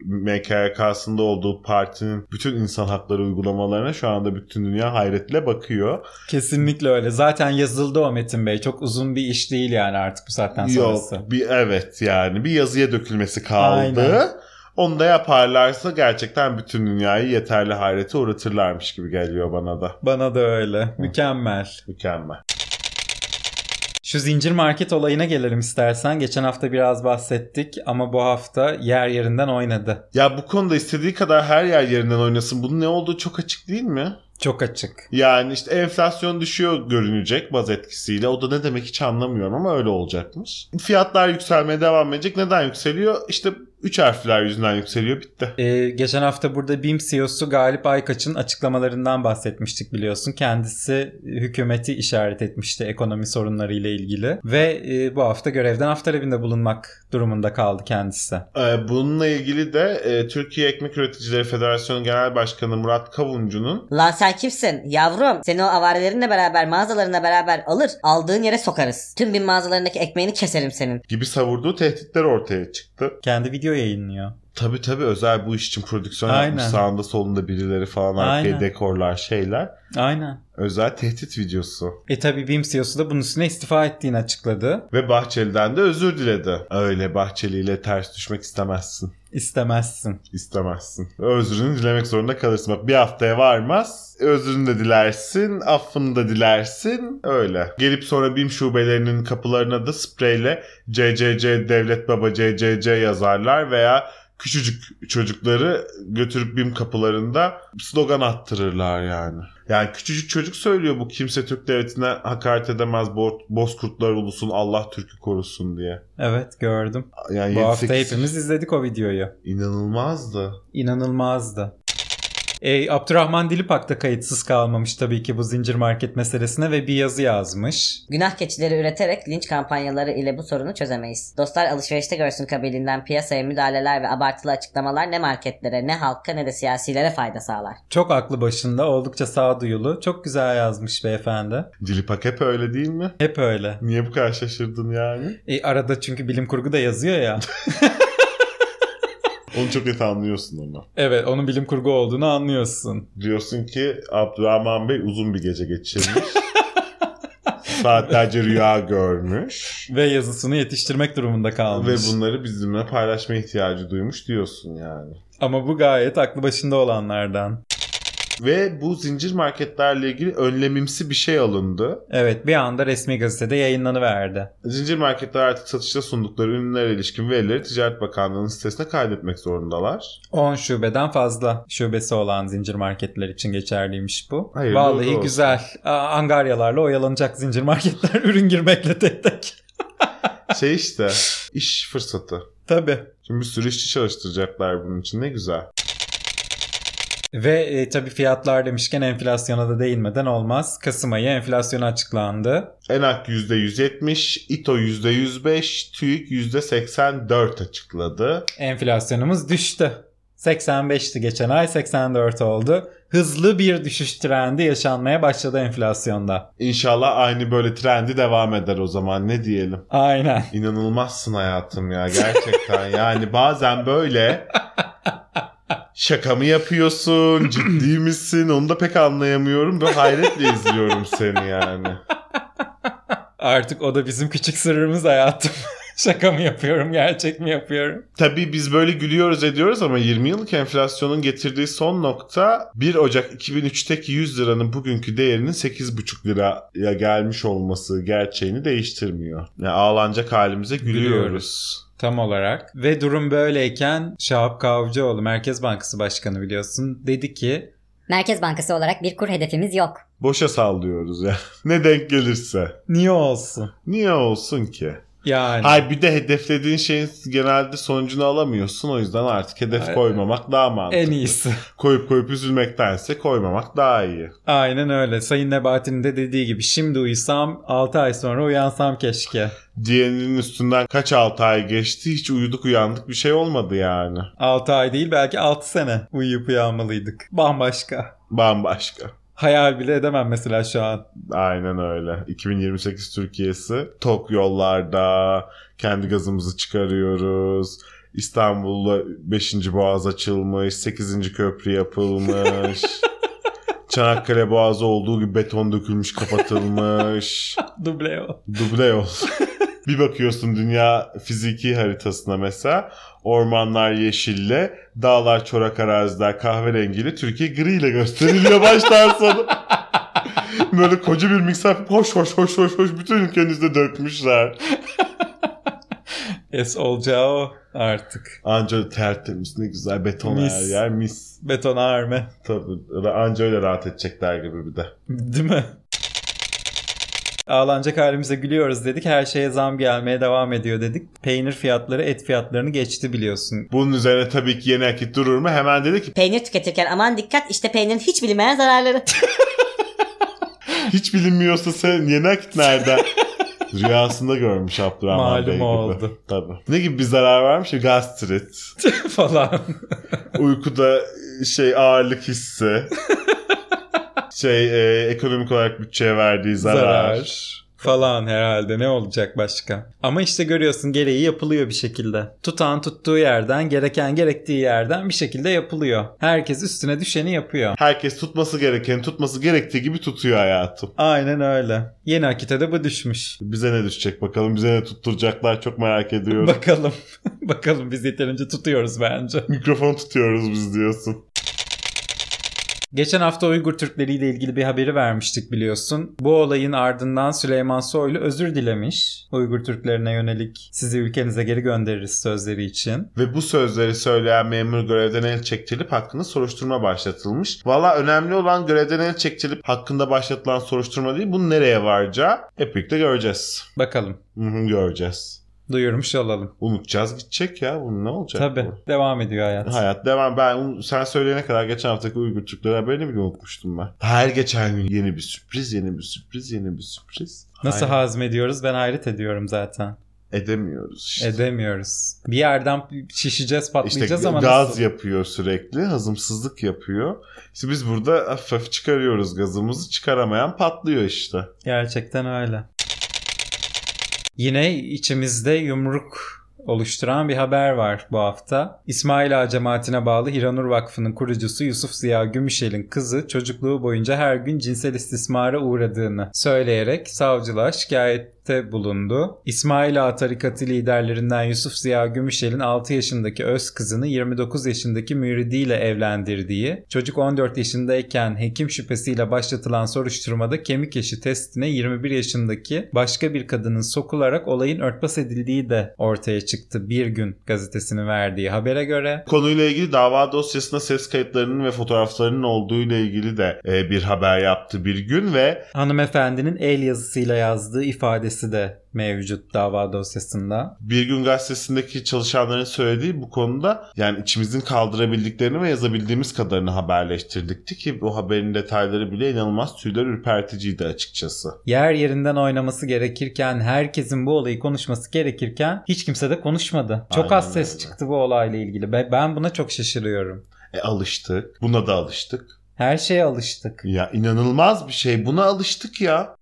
MKK'sında olduğu partinin bütün insan hakları uygulamalarına şu anda bütün dünya hayretle bakıyor. Kesinlikle öyle. Zaten yazıldı o Metin Bey. Çok uzun bir iş değil yani artık bu saatten sonrası. Yok bir evet yani bir yazıya dökülmesi kaldı. Aynen. Onu da yaparlarsa gerçekten bütün dünyayı yeterli hayrete uğratırlarmış gibi geliyor bana da. Bana da öyle. Mükemmel. Mükemmel. Şu zincir market olayına gelelim istersen. Geçen hafta biraz bahsettik ama bu hafta yer yerinden oynadı. Ya bu konuda istediği kadar her yer yerinden oynasın. Bunun ne olduğu çok açık değil mi? Çok açık. Yani işte enflasyon düşüyor görünecek baz etkisiyle. O da ne demek hiç anlamıyorum ama öyle olacakmış. Fiyatlar yükselmeye devam edecek. Neden yükseliyor? İşte üç harfler yüzünden yükseliyor. Bitti. Ee, geçen hafta burada BİM CEO'su Galip Aykaç'ın açıklamalarından bahsetmiştik biliyorsun. Kendisi e, hükümeti işaret etmişti ekonomi sorunları ile ilgili. Ve e, bu hafta görevden af talebinde bulunmak durumunda kaldı kendisi. Ee, Bununla ilgili de e, Türkiye Ekmek Üreticileri Federasyonu Genel Başkanı Murat Kavuncu'nun Lan sen kimsin? Yavrum seni o avarelerinle beraber mağazalarına beraber alır aldığın yere sokarız. Tüm bin mağazalarındaki ekmeğini keserim senin. gibi savurduğu tehditler ortaya çıktı. Kendi video yayınlıyor. Tabii tabii özel bu iş için prodüksiyon Aynen. yapmış. Sağında solunda birileri falan arkaya Aynen. dekorlar şeyler. Aynen. Özel tehdit videosu. E tabi BİM CEO'su da bunun üstüne istifa ettiğini açıkladı. Ve Bahçeli'den de özür diledi. Öyle Bahçeli ile ters düşmek istemezsin. İstemezsin. istemezsin. Özrünü dilemek zorunda kalırsın. Bak bir haftaya varmaz. Özrünü de dilersin, affını da dilersin. Öyle. Gelip sonra BİM şubelerinin kapılarına da spreyle CCC Devlet Baba CCC yazarlar veya küçücük çocukları götürüp BİM kapılarında slogan attırırlar yani. Yani küçücük çocuk söylüyor bu kimse Türk devletine hakaret edemez bo- bozkurtlar ulusun Allah Türk'ü korusun diye. Evet gördüm. Yani Bu 7-8 hafta hepimiz izledik o videoyu. inanılmazdı. İnanılmazdı. E, Abdurrahman Dilipak da kayıtsız kalmamış tabii ki bu zincir market meselesine ve bir yazı yazmış. Günah keçileri üreterek linç kampanyaları ile bu sorunu çözemeyiz. Dostlar alışverişte görsün kabiliğinden piyasaya müdahaleler ve abartılı açıklamalar ne marketlere ne halka ne de siyasilere fayda sağlar. Çok aklı başında, oldukça sağduyulu. Çok güzel yazmış beyefendi. Dilipak hep öyle değil mi? Hep öyle. Niye bu kadar şaşırdın yani? E, arada çünkü bilim kurgu da yazıyor ya. Onu çok net anlıyorsun ama. evet, onun bilim kurgu olduğunu anlıyorsun. Diyorsun ki Abdurrahman Bey uzun bir gece geçirmiş. Saatlerce rüya görmüş. Ve yazısını yetiştirmek durumunda kalmış. Ve bunları bizimle paylaşma ihtiyacı duymuş diyorsun yani. Ama bu gayet aklı başında olanlardan. Ve bu zincir marketlerle ilgili önlemimsi bir şey alındı. Evet, bir anda resmi gazetede yayınlanıverdi. Zincir marketler artık satışta sundukları ürünlere ilişkin verileri Ticaret Bakanlığı'nın sitesine kaydetmek zorundalar. 10 şubeden fazla şubesi olan zincir marketler için geçerliymiş bu. Hayırlı Vallahi olsun. güzel. Aa, Angaryalarla oyalanacak zincir marketler ürün girmekle tek tek. Şey işte iş fırsatı. Tabii. Şimdi bir sürü işçi çalıştıracaklar bunun için ne güzel. Ve e, tabii fiyatlar demişken enflasyona da değinmeden olmaz. Kasım ayı enflasyonu açıklandı. Enak %170, İTO %105, TÜİK %84 açıkladı. Enflasyonumuz düştü. 85'ti geçen ay 84 oldu. Hızlı bir düşüş trendi yaşanmaya başladı enflasyonda. İnşallah aynı böyle trendi devam eder o zaman ne diyelim. Aynen. İnanılmazsın hayatım ya gerçekten. yani bazen böyle şaka mı yapıyorsun, ciddi misin onu da pek anlayamıyorum. Böyle hayretle izliyorum seni yani. Artık o da bizim küçük sırrımız hayatım. Şaka mı yapıyorum, gerçek mi yapıyorum? Tabii biz böyle gülüyoruz ediyoruz ama 20 yıllık enflasyonun getirdiği son nokta 1 Ocak 2003'teki 100 liranın bugünkü değerinin 8,5 liraya gelmiş olması gerçeğini değiştirmiyor. Yani ağlanacak halimize gülüyoruz. Gülüyoruz. Tam olarak. Ve durum böyleyken Şahap Kavcıoğlu Merkez Bankası Başkanı biliyorsun dedi ki Merkez Bankası olarak bir kur hedefimiz yok. Boşa sallıyoruz ya. ne denk gelirse. niye olsun? Niye olsun ki? Yani. Hayır bir de hedeflediğin şeyin genelde sonucunu alamıyorsun. O yüzden artık hedef Aynen. koymamak daha mantıklı. En iyisi. Koyup koyup üzülmektense koymamak daha iyi. Aynen öyle. Sayın Nebati'nin de dediği gibi şimdi uyusam 6 ay sonra uyansam keşke. Diğerinin üstünden kaç 6 ay geçti hiç uyuduk uyandık bir şey olmadı yani. 6 ay değil belki 6 sene uyuyup uyanmalıydık. Bambaşka. Bambaşka. Hayal bile edemem mesela şu an. Aynen öyle. 2028 Türkiye'si tok yollarda kendi gazımızı çıkarıyoruz. İstanbul'da 5. Boğaz açılmış, 8. köprü yapılmış. Çanakkale Boğazı olduğu gibi beton dökülmüş, kapatılmış. Duble o. Duble yol. bir bakıyorsun dünya fiziki haritasına mesela. Ormanlar yeşille, dağlar çorak araziler kahverengiyle, Türkiye griyle gösteriliyor baştan sona. Böyle koca bir mikser hoş hoş hoş hoş hoş bütün ülkenizde dökmüşler. Es olacağı o artık. Anca tertemiz ne güzel beton her Mis. yer mis. Beton arme. Tabii anca öyle rahat edecekler gibi bir de. Değil mi? Ağlanacak halimize gülüyoruz dedik. Her şeye zam gelmeye devam ediyor dedik. Peynir fiyatları et fiyatlarını geçti biliyorsun. Bunun üzerine tabii ki yeni akit durur mu? Hemen dedi ki Peynir tüketirken aman dikkat işte peynirin hiç bilinmeyen zararları. hiç bilinmiyorsa sen yeni akit nereden? Rüyasında görmüş Abdurrahman Malum Bey gibi. oldu. Tabii. Ne gibi bir zarar varmış? Gastrit, falan. uykuda şey ağırlık hissi, şey e, ekonomik olarak bütçeye verdiği zarar. Zarar. Falan herhalde ne olacak başka. Ama işte görüyorsun gereği yapılıyor bir şekilde. Tutan tuttuğu yerden gereken gerektiği yerden bir şekilde yapılıyor. Herkes üstüne düşeni yapıyor. Herkes tutması gereken, tutması gerektiği gibi tutuyor hayatım. Aynen öyle. Yeni akite de bu düşmüş. Bize ne düşecek bakalım, bize ne tutturacaklar çok merak ediyorum. Bakalım. Bakalım biz yeterince tutuyoruz bence. Mikrofon tutuyoruz biz diyorsun. Geçen hafta Uygur Türkleri ile ilgili bir haberi vermiştik biliyorsun. Bu olayın ardından Süleyman Soylu özür dilemiş. Uygur Türklerine yönelik sizi ülkenize geri göndeririz sözleri için. Ve bu sözleri söyleyen memur görevden el çektirilip hakkında soruşturma başlatılmış. Valla önemli olan görevden el çektirilip hakkında başlatılan soruşturma değil. Bunu nereye varacağı hep birlikte göreceğiz. Bakalım. Hı hı, göreceğiz. Duyurmuş olalım. Unutacağız gidecek ya. Bunun ne olacak? Tabii. bu? Devam ediyor hayat. Hayat devam. Ben un- sen söyleyene kadar geçen haftaki Uygur Türkleri haberini bile unutmuştum ben. Her geçen gün yeni bir sürpriz, yeni bir sürpriz, yeni bir sürpriz. Nasıl Hayret hazmediyoruz? Ben hayret ediyorum zaten. edemiyoruz işte. Edemiyoruz. Bir yerden şişeceğiz, İşte patlayacağız ama gaz nasıl? yapıyor sürekli, hazımsızlık yapıyor. İşte biz burada hafif hafif çıkarıyoruz gazımızı, çıkaramayan patlıyor işte. Gerçekten öyle. Yine içimizde yumruk oluşturan bir haber var bu hafta. İsmail Ağa cemaatine bağlı Hiranur Vakfı'nın kurucusu Yusuf Ziya Gümüşel'in kızı çocukluğu boyunca her gün cinsel istismara uğradığını söyleyerek savcılığa şikayette bulundu. İsmail Ağa tarikatı liderlerinden Yusuf Ziya Gümüşel'in 6 yaşındaki öz kızını 29 yaşındaki müridiyle evlendirdiği, çocuk 14 yaşındayken hekim şüphesiyle başlatılan soruşturmada kemik yaşı testine 21 yaşındaki başka bir kadının sokularak olayın örtbas edildiği de ortaya çıktı. Bir gün gazetesinin verdiği habere göre Konuyla ilgili dava dosyasında ses kayıtlarının ve fotoğraflarının olduğu ile ilgili de e, bir haber yaptı bir gün ve hanımefendinin el yazısıyla yazdığı ifadesi de mevcut dava dosyasında. Bir gün gazetesindeki çalışanların söylediği bu konuda yani içimizin kaldırabildiklerini ve yazabildiğimiz kadarını haberleştirdikti ki bu haberin detayları bile inanılmaz tüyler ürperticiydi açıkçası. Yer yerinden oynaması gerekirken, herkesin bu olayı konuşması gerekirken hiç kimse de konuşmadı. Çok Aynen az ses öyle. çıktı bu olayla ilgili. Ben ben buna çok şaşırıyorum. E alıştık. Buna da alıştık. Her şeye alıştık. Ya inanılmaz bir şey. Buna alıştık ya.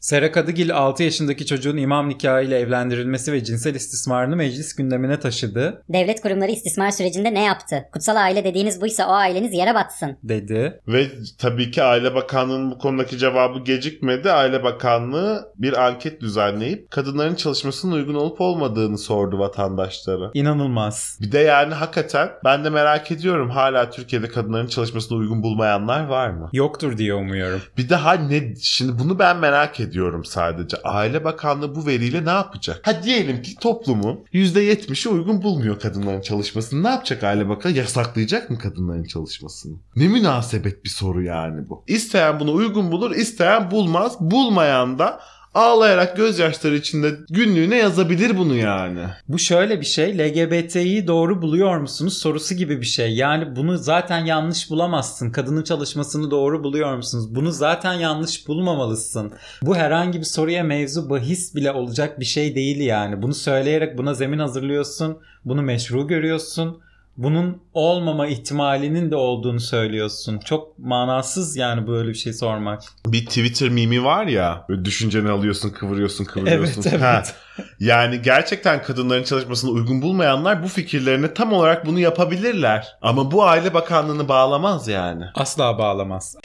Sera Kadıgil 6 yaşındaki çocuğun imam nikahıyla evlendirilmesi ve cinsel istismarını meclis gündemine taşıdı Devlet kurumları istismar sürecinde ne yaptı? Kutsal aile dediğiniz buysa o aileniz yere batsın. dedi. Ve tabii ki Aile Bakanlığı'nın bu konudaki cevabı gecikmedi. Aile Bakanlığı bir anket düzenleyip kadınların çalışmasının uygun olup olmadığını sordu vatandaşlara. İnanılmaz. Bir de yani hakikaten ben de merak ediyorum hala Türkiye'de kadınların çalışmasına uygun bulmayanlar var mı? Yoktur diye umuyorum. Bir de ha ne şimdi bunu ben merak ediyorum sadece. Aile Bakanlığı bu veriyle ne yapacak? Ha diyelim ki toplumun %70'i uygun bulmuyor kadınların çalışmasını. Ne yapacak Aile Bakanı? Yasaklayacak mı kadınların çalışmasını? Ne münasebet bir soru yani bu. İsteyen bunu uygun bulur, isteyen bulmaz. Bulmayan da ağlayarak gözyaşları içinde günlüğüne yazabilir bunu yani. Bu şöyle bir şey. LGBT'yi doğru buluyor musunuz sorusu gibi bir şey. Yani bunu zaten yanlış bulamazsın. Kadının çalışmasını doğru buluyor musunuz? Bunu zaten yanlış bulmamalısın. Bu herhangi bir soruya mevzu bahis bile olacak bir şey değil yani. Bunu söyleyerek buna zemin hazırlıyorsun. Bunu meşru görüyorsun. Bunun olmama ihtimalinin de olduğunu söylüyorsun. Çok manasız yani böyle bir şey sormak. bir Twitter mimi var ya. böyle Düşünceni alıyorsun, kıvırıyorsun, kıvırıyorsun. Evet, evet. Yani gerçekten kadınların çalışmasına uygun bulmayanlar bu fikirlerine tam olarak bunu yapabilirler. Ama bu Aile Bakanlığı'nı bağlamaz yani. Asla bağlamaz.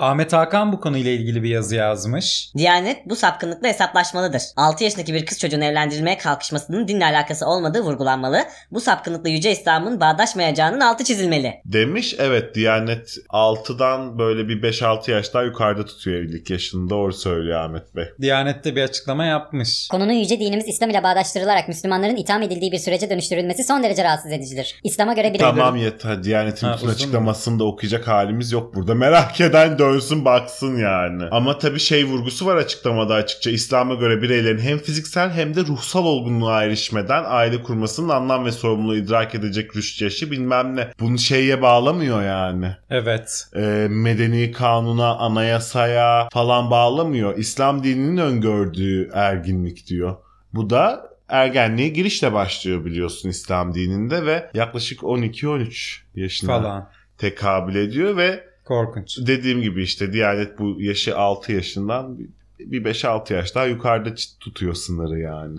Ahmet Hakan bu konuyla ilgili bir yazı yazmış. Diyanet bu sapkınlıkla hesaplaşmalıdır. 6 yaşındaki bir kız çocuğunu evlendirilmeye kalkışmasının dinle alakası olmadığı vurgulanmalı. Bu sapkınlıkla Yüce İslam'ın bağdaşmayacağının altı çizilmeli. Demiş evet Diyanet 6'dan böyle bir 5-6 yaş daha yukarıda tutuyor evlilik yaşını. Doğru söylüyor Ahmet Bey. Diyanet'te bir açıklama yapmış. Konunun yüce dinimiz İslam ile bağdaştırılarak Müslümanların itham edildiği bir sürece dönüştürülmesi son derece rahatsız edicidir. İslam'a göre bir Tamam yeter. Diyanet'in Ha, bütün uzun mu? açıklamasını da okuyacak halimiz yok burada. Merak eden dönsün baksın yani. Ama tabii şey vurgusu var açıklamada açıkça. İslam'a göre bireylerin hem fiziksel hem de ruhsal olgunluğa erişmeden aile kurmasının anlam ve sorumluluğu idrak edecek rüşt yaşı bilmem ne. Bunu şeye bağlamıyor yani. Evet. Ee, medeni kanuna, anayasaya falan bağlamıyor. İslam dininin öngördüğü erginlik diyor. Bu da ergenliğe girişle başlıyor biliyorsun İslam dininde ve yaklaşık 12-13 yaşına Falan. tekabül ediyor ve Korkunç. dediğim gibi işte Diyanet bu yaşı 6 yaşından bir- bir 5-6 yaş daha yukarıda çi- tutuyor sınırı yani.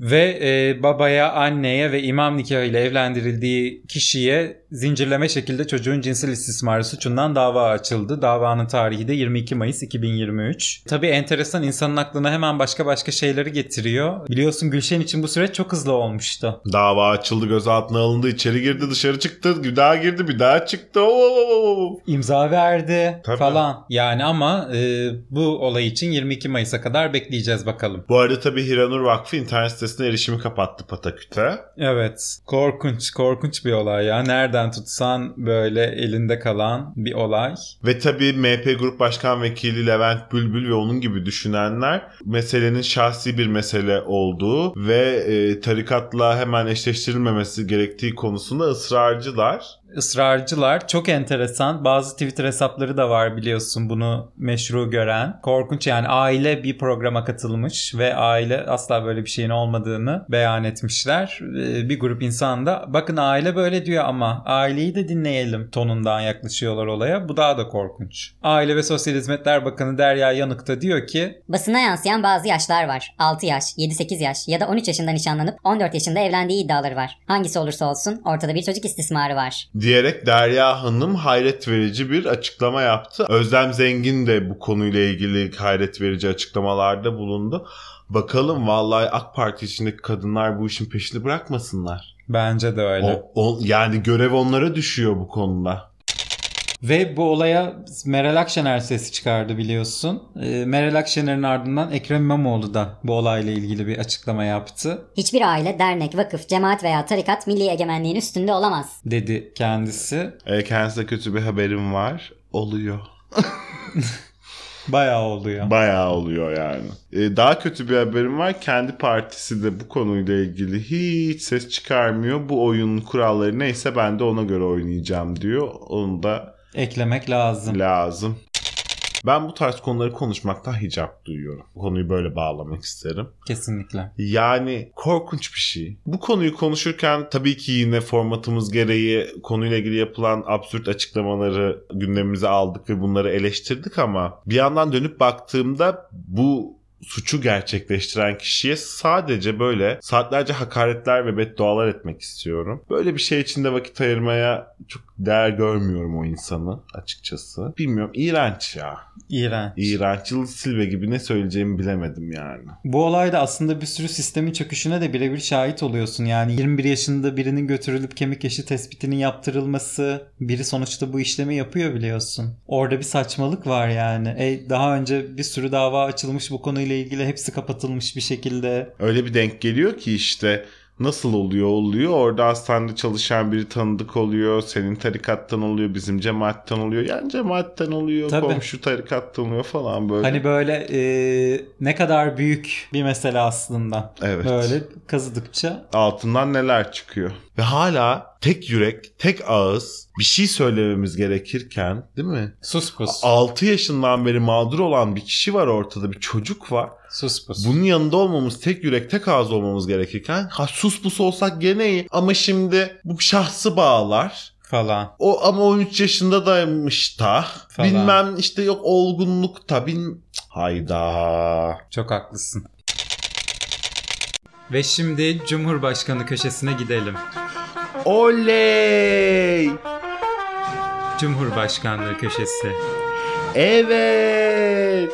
Ve e, babaya, anneye ve imam nikahıyla evlendirildiği kişiye zincirleme şekilde çocuğun cinsel istismarı suçundan dava açıldı. Davanın tarihi de 22 Mayıs 2023. Tabii enteresan insanın aklına hemen başka başka şeyleri getiriyor. Biliyorsun Gülşen için bu süreç çok hızlı olmuştu. Dava açıldı, gözaltına alındı, içeri girdi, dışarı çıktı, bir daha girdi, bir daha çıktı. Oo! İmza verdi Tabii. falan. Yani ama e, bu olay için 22 Mayıs'a kadar bekleyeceğiz bakalım. Bu arada tabii Hiranur Vakfı internet sitesine erişimi kapattı Pataküt'e. Evet. Korkunç, korkunç bir olay ya. Nereden tutsan böyle elinde kalan bir olay. Ve tabii MHP Grup Başkan Vekili Levent Bülbül ve onun gibi düşünenler meselenin şahsi bir mesele olduğu ve e, tarikatla hemen eşleştirilmemesi gerektiği konusunda ısrarcılar. Israrcılar çok enteresan. Bazı Twitter hesapları da var biliyorsun bunu meşru gören. Korkunç yani aile bir programa katılmış ve aile asla böyle bir şeyin olmadığını beyan etmişler. Ee, Bir grup insan da bakın aile böyle diyor ama aileyi de dinleyelim tonundan yaklaşıyorlar olaya. Bu daha da korkunç. Aile ve Sosyal Hizmetler Bakanı Derya Yanık da diyor ki Basına yansıyan bazı yaşlar var. 6 yaş, 7-8 yaş ya da 13 yaşında nişanlanıp 14 yaşında evlendiği iddiaları var. Hangisi olursa olsun ortada bir çocuk istismarı var. diyerek Derya Hanım hayret verici bir açıklama yaptı. Özlem Zengin de bu konuyla ilgili hayret verici açıklamalarda bulundu. Bakalım vallahi AK Parti içindeki kadınlar bu işin peşini bırakmasınlar. bence de öyle. O, o- yani görev onlara düşüyor bu konuda. Ve bu olaya Meral Akşener sesi çıkardı biliyorsun. Ee, Meral Akşener'in ardından Ekrem İmamoğlu da bu olayla ilgili bir açıklama yaptı. Hiçbir aile, dernek, vakıf, cemaat veya tarikat milli egemenliğin üstünde olamaz. Dedi kendisi. E, kendisine kötü bir haberim var. Oluyor. Bayağı oldu ya. Bayağı oluyor yani. E, daha kötü bir haberim var. Kendi partisi de bu konuyla ilgili hiç ses çıkarmıyor. Bu oyunun kuralları neyse ben de ona göre oynayacağım diyor. Onu da Eklemek lazım. lazım. Ben bu tarz konuları konuşmaktan hicap duyuyorum. Bu konuyu böyle bağlamak isterim. Kesinlikle. Yani korkunç bir şey. Bu konuyu konuşurken tabii ki yine formatımız gereği konuyla ilgili yapılan absürt açıklamaları gündemimize aldık ve bunları eleştirdik ama bir yandan dönüp baktığımda bu suçu gerçekleştiren kişiye sadece böyle saatlerce hakaretler ve beddualar etmek istiyorum. Böyle bir şey içinde vakit ayırmaya çok değer görmüyorum o insanı açıkçası. Bilmiyorum iğrenç ya. İğrenç. İğrenç. Yıldız Silve gibi ne söyleyeceğimi bilemedim yani. Bu olayda aslında bir sürü sistemin çöküşüne de birebir şahit oluyorsun. Yani 21 yaşında birinin götürülüp kemik yaşı tespitinin yaptırılması, biri sonuçta bu işlemi yapıyor biliyorsun. Orada bir saçmalık var yani. E, daha önce bir sürü dava açılmış bu konuyla ilgili hepsi kapatılmış bir şekilde. Öyle bir denk geliyor ki işte Nasıl oluyor oluyor? Orada hastanede çalışan biri tanıdık oluyor. Senin tarikattan oluyor. Bizim cemaatten oluyor. Yani cemaatten oluyor. Tabii. Komşu tarikattan oluyor falan böyle. Hani böyle e, ne kadar büyük bir mesele aslında. Evet. Böyle kazıdıkça. altından neler çıkıyor. Ve hala tek yürek, tek ağız bir şey söylememiz gerekirken değil mi? Sus pus. 6 yaşından beri mağdur olan bir kişi var ortada, bir çocuk var. Sus pus. Bunun yanında olmamız, tek yürek, tek ağız olmamız gerekirken ha sus pus olsak gene iyi ama şimdi bu şahsı bağlar. Falan. O ama 13 yaşında daymış da Falan. bilmem işte yok olgunluk da bin hayda. Çok haklısın. Ve şimdi Cumhurbaşkanı köşesine gidelim. Oley! Cumhurbaşkanlığı köşesi. Evet!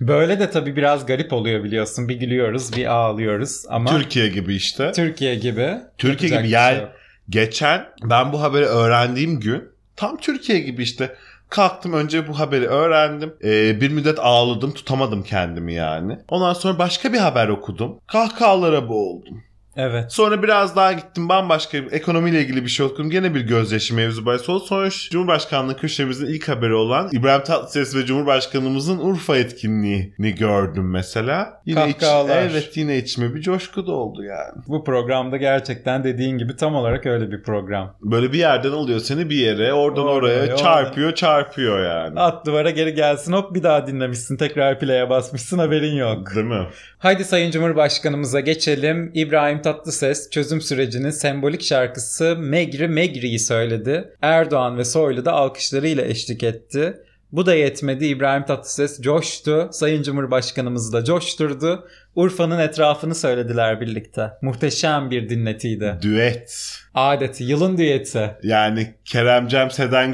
Böyle de tabii biraz garip oluyor biliyorsun. Bir gülüyoruz, bir ağlıyoruz ama Türkiye gibi işte. Türkiye gibi. Türkiye yapacak gibi bir yer- şey yok. Geçen ben bu haberi öğrendiğim gün tam Türkiye gibi işte kalktım önce bu haberi öğrendim. Ee, bir müddet ağladım tutamadım kendimi yani. Ondan sonra başka bir haber okudum. Kahkahalara boğuldum. Evet. Sonra biraz daha gittim bambaşka bir ekonomiyle ilgili bir şey okudum. Gene bir gözyaşı mevzu bahis oldu. Sonra şu Cumhurbaşkanlığı köşemizin ilk haberi olan İbrahim Tatlıses ve Cumhurbaşkanımızın Urfa etkinliğini gördüm mesela. Yine iç- Kahkahalar. evet yine içime bir coşku doldu yani. Bu programda gerçekten dediğin gibi tam olarak öyle bir program. Böyle bir yerden alıyor seni bir yere, oradan Oraya, oraya, oradan. çarpıyor, çarpıyor yani. At duvara geri gelsin hop bir daha dinlemişsin. Tekrar play'e basmışsın haberin yok. Değil mi? Haydi Sayın Cumhurbaşkanımıza geçelim. İbrahim Tatlıses çözüm sürecinin sembolik şarkısı Megri Megri'yi söyledi. Erdoğan ve Soylu da alkışlarıyla eşlik etti. Bu da yetmedi. İbrahim Tatlıses coştu. Sayın Cumhurbaşkanımızı da coşturdu. Urfa'nın etrafını söylediler birlikte. Muhteşem bir dinletiydi. Düet. Adeti yılın düeti. Yani Kerem Cem Seden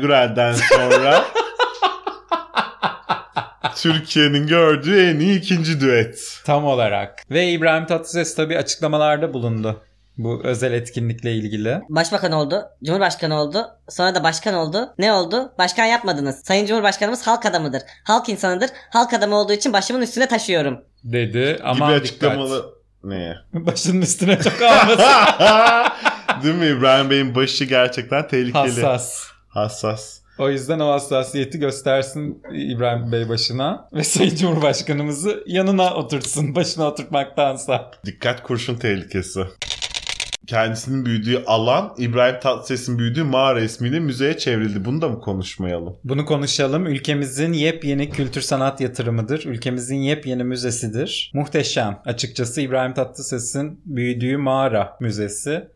Gürel'den sonra Türkiye'nin gördüğü en iyi ikinci düet. Tam olarak. Ve İbrahim Tatlıses tabii açıklamalarda bulundu. Bu özel etkinlikle ilgili. Başbakan oldu, Cumhurbaşkanı oldu, sonra da başkan oldu. Ne oldu? Başkan yapmadınız. Sayın Cumhurbaşkanımız halk adamıdır. Halk insanıdır. Halk adamı olduğu için başımın üstüne taşıyorum. Dedi. Aman gibi dikkat. açıklamalı. Ne? Başının üstüne çok almasın. Değil mi İbrahim Bey'in başı gerçekten tehlikeli. Hassas. Hassas. O yüzden o hassasiyeti göstersin İbrahim Bey başına ve Sayın Cumhurbaşkanımızı yanına oturtsun başına oturtmaktansa. Dikkat kurşun tehlikesi. Kendisinin büyüdüğü alan İbrahim Tatlıses'in büyüdüğü mağara ismiyle müzeye çevrildi. Bunu da mı konuşmayalım? Bunu konuşalım. Ülkemizin yepyeni kültür sanat yatırımıdır. Ülkemizin yepyeni müzesidir. Muhteşem. Açıkçası İbrahim Tatlıses'in büyüdüğü mağara müzesi.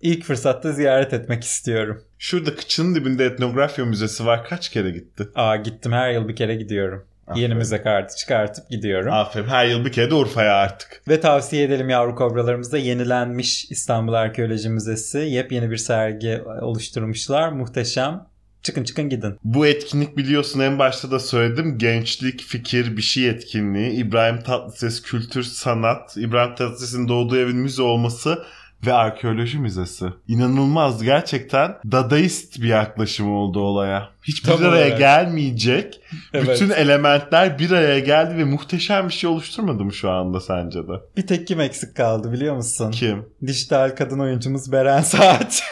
İlk fırsatta ziyaret etmek istiyorum. Şurada kıçının dibinde etnografya müzesi var. Kaç kere gitti? Aa gittim her yıl bir kere gidiyorum. Yeni Aferin. müze kartı çıkartıp gidiyorum. Aferin. Her yıl bir kere de Urfa'ya artık. Ve tavsiye edelim yavru kobralarımızda yenilenmiş İstanbul Arkeoloji Müzesi. Yepyeni bir sergi oluşturmuşlar. Muhteşem. Çıkın çıkın gidin. Bu etkinlik biliyorsun en başta da söyledim. Gençlik, fikir, bir şey etkinliği. İbrahim Tatlıses Kültür Sanat. İbrahim Tatlıses'in doğduğu evin müze olması ve arkeoloji müzesi. İnanılmaz gerçekten dadaist bir yaklaşım oldu olaya. Hiçbir Tam araya olarak. gelmeyecek. Evet. Bütün elementler bir araya geldi ve muhteşem bir şey oluşturmadı mı şu anda sence de? Bir tek kim eksik kaldı biliyor musun? Kim? Dijital kadın oyuncumuz Beren Saat.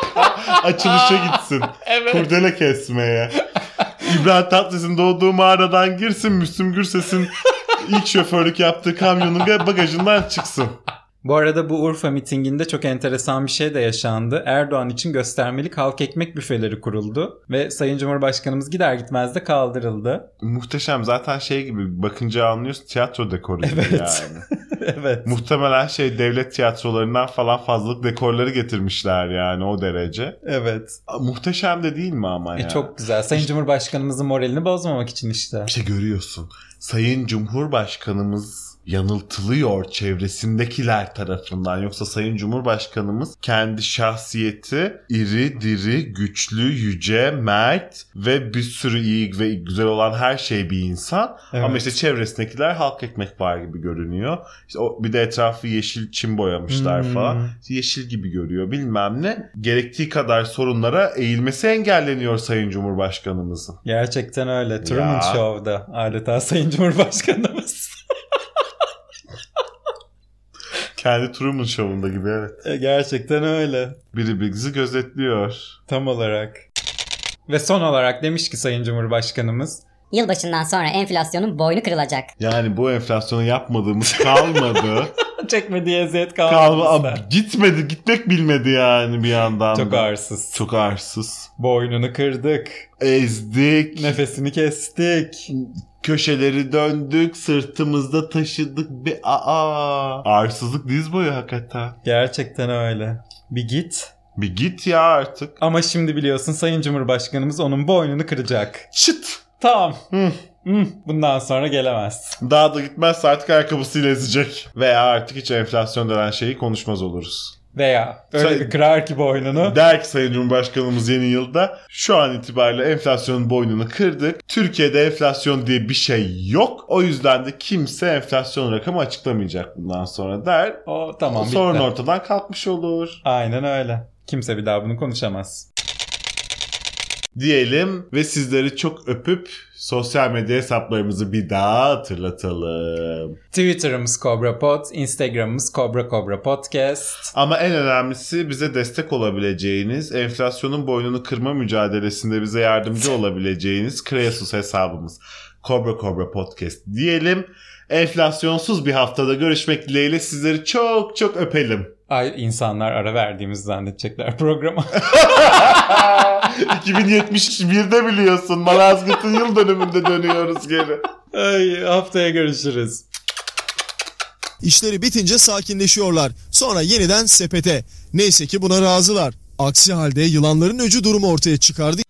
Açılışa gitsin. evet. Kurdele kesmeye. İbrahim Tatlıses'in doğduğu mağaradan girsin Müslüm Gürses'in ilk şoförlük yaptığı kamyonun ve bagajından çıksın. Bu arada bu Urfa mitinginde çok enteresan bir şey de yaşandı. Erdoğan için göstermelik halk ekmek büfeleri kuruldu. Ve Sayın Cumhurbaşkanımız gider gitmez de kaldırıldı. Muhteşem zaten şey gibi bakınca anlıyorsun tiyatro dekoru gibi Evet. yani. evet. Muhtemelen şey devlet tiyatrolarından falan fazlalık dekorları getirmişler yani o derece. Evet. A, Muhteşem de değil mi ama E, ya? çok güzel. Sayın Cumhurbaşkanımızın moralini bozmamak için işte. İşte şey görüyorsun. Sayın Cumhurbaşkanımız yanıltılıyor çevresindekiler tarafından. Yoksa Sayın Cumhurbaşkanımız kendi şahsiyeti iri, diri, güçlü, yüce, mert ve bir sürü iyi ve güzel olan her şey bir insan. Evet. Ama işte çevresindekiler halk ekmek var gibi görünüyor. İşte o, bir de etrafı yeşil çim boyamışlar Hmm. falan. Yeşil gibi görüyor bilmem ne. Gerektiği kadar sorunlara eğilmesi engelleniyor Sayın Cumhurbaşkanımızın. Gerçekten öyle. Truman Ya. Show'da adeta Sayın Cumhurbaşkanımız. Kendi Truman Show'unda gibi evet. E, Gerçekten öyle. Biri bizi gözetliyor. Tam olarak. Ve son olarak demiş ki Sayın Cumhurbaşkanımız. Yılbaşından sonra enflasyonun boynu kırılacak. Yani bu enflasyonu yapmadığımız kalmadı. Çekmediği eziyet Kalma, kalmadı. ab- gitmedi, gitmek bilmedi yani bir yandan. Çok da. ağırsız. Çok ağırsız. Boynunu kırdık. Ezdik. Nefesini kestik. Köşeleri döndük, sırtımızda taşıdık bir aa. Arsızlık diz boyu hakikaten. Gerçekten öyle. Bir git. Bir git ya artık. Ama şimdi biliyorsun Sayın Cumhurbaşkanımız onun boynunu kıracak. Çıt. Tamam. Hı. Hı. Bundan sonra gelemez. Daha da gitmezse artık ayakkabısıyla ezecek. Veya artık hiç enflasyon denen şeyi konuşmaz oluruz. Veya öyle Say- bir kırar ki boynunu. Der ki Sayın Cumhurbaşkanımız yeni yılda şu an itibariyle enflasyonun boynunu kırdık. Türkiye'de enflasyon diye bir şey yok. O yüzden de kimse enflasyon rakamı açıklamayacak bundan sonra der. o tamam bitti. Sorun ortadan kalkmış olur. Aynen öyle. Kimse bir daha bunu konuşamaz. diyelim ve sizleri çok öpüp sosyal medya hesaplarımızı bir daha hatırlatalım. Twitter'ımız Cobra Pod, Instagram'ımız Cobra Cobra Podcast. Ama en önemlisi bize destek olabileceğiniz, enflasyonun boynunu kırma mücadelesinde bize yardımcı olabileceğiniz Kreasus hesabımız. Cobra Cobra Podcast diyelim. Enflasyonsuz bir haftada görüşmek dileğiyle sizleri çok çok öpelim. Ay insanlar ara verdiğimizi zannedecekler programa. 2071'de biliyorsun Malazgirt'in yıl dönümünde dönüyoruz geri. Ay haftaya görüşürüz. İşleri bitince sakinleşiyorlar. Sonra yeniden sepete. Neyse ki buna razılar. Aksi halde yılanların öcü durumu ortaya çıkardı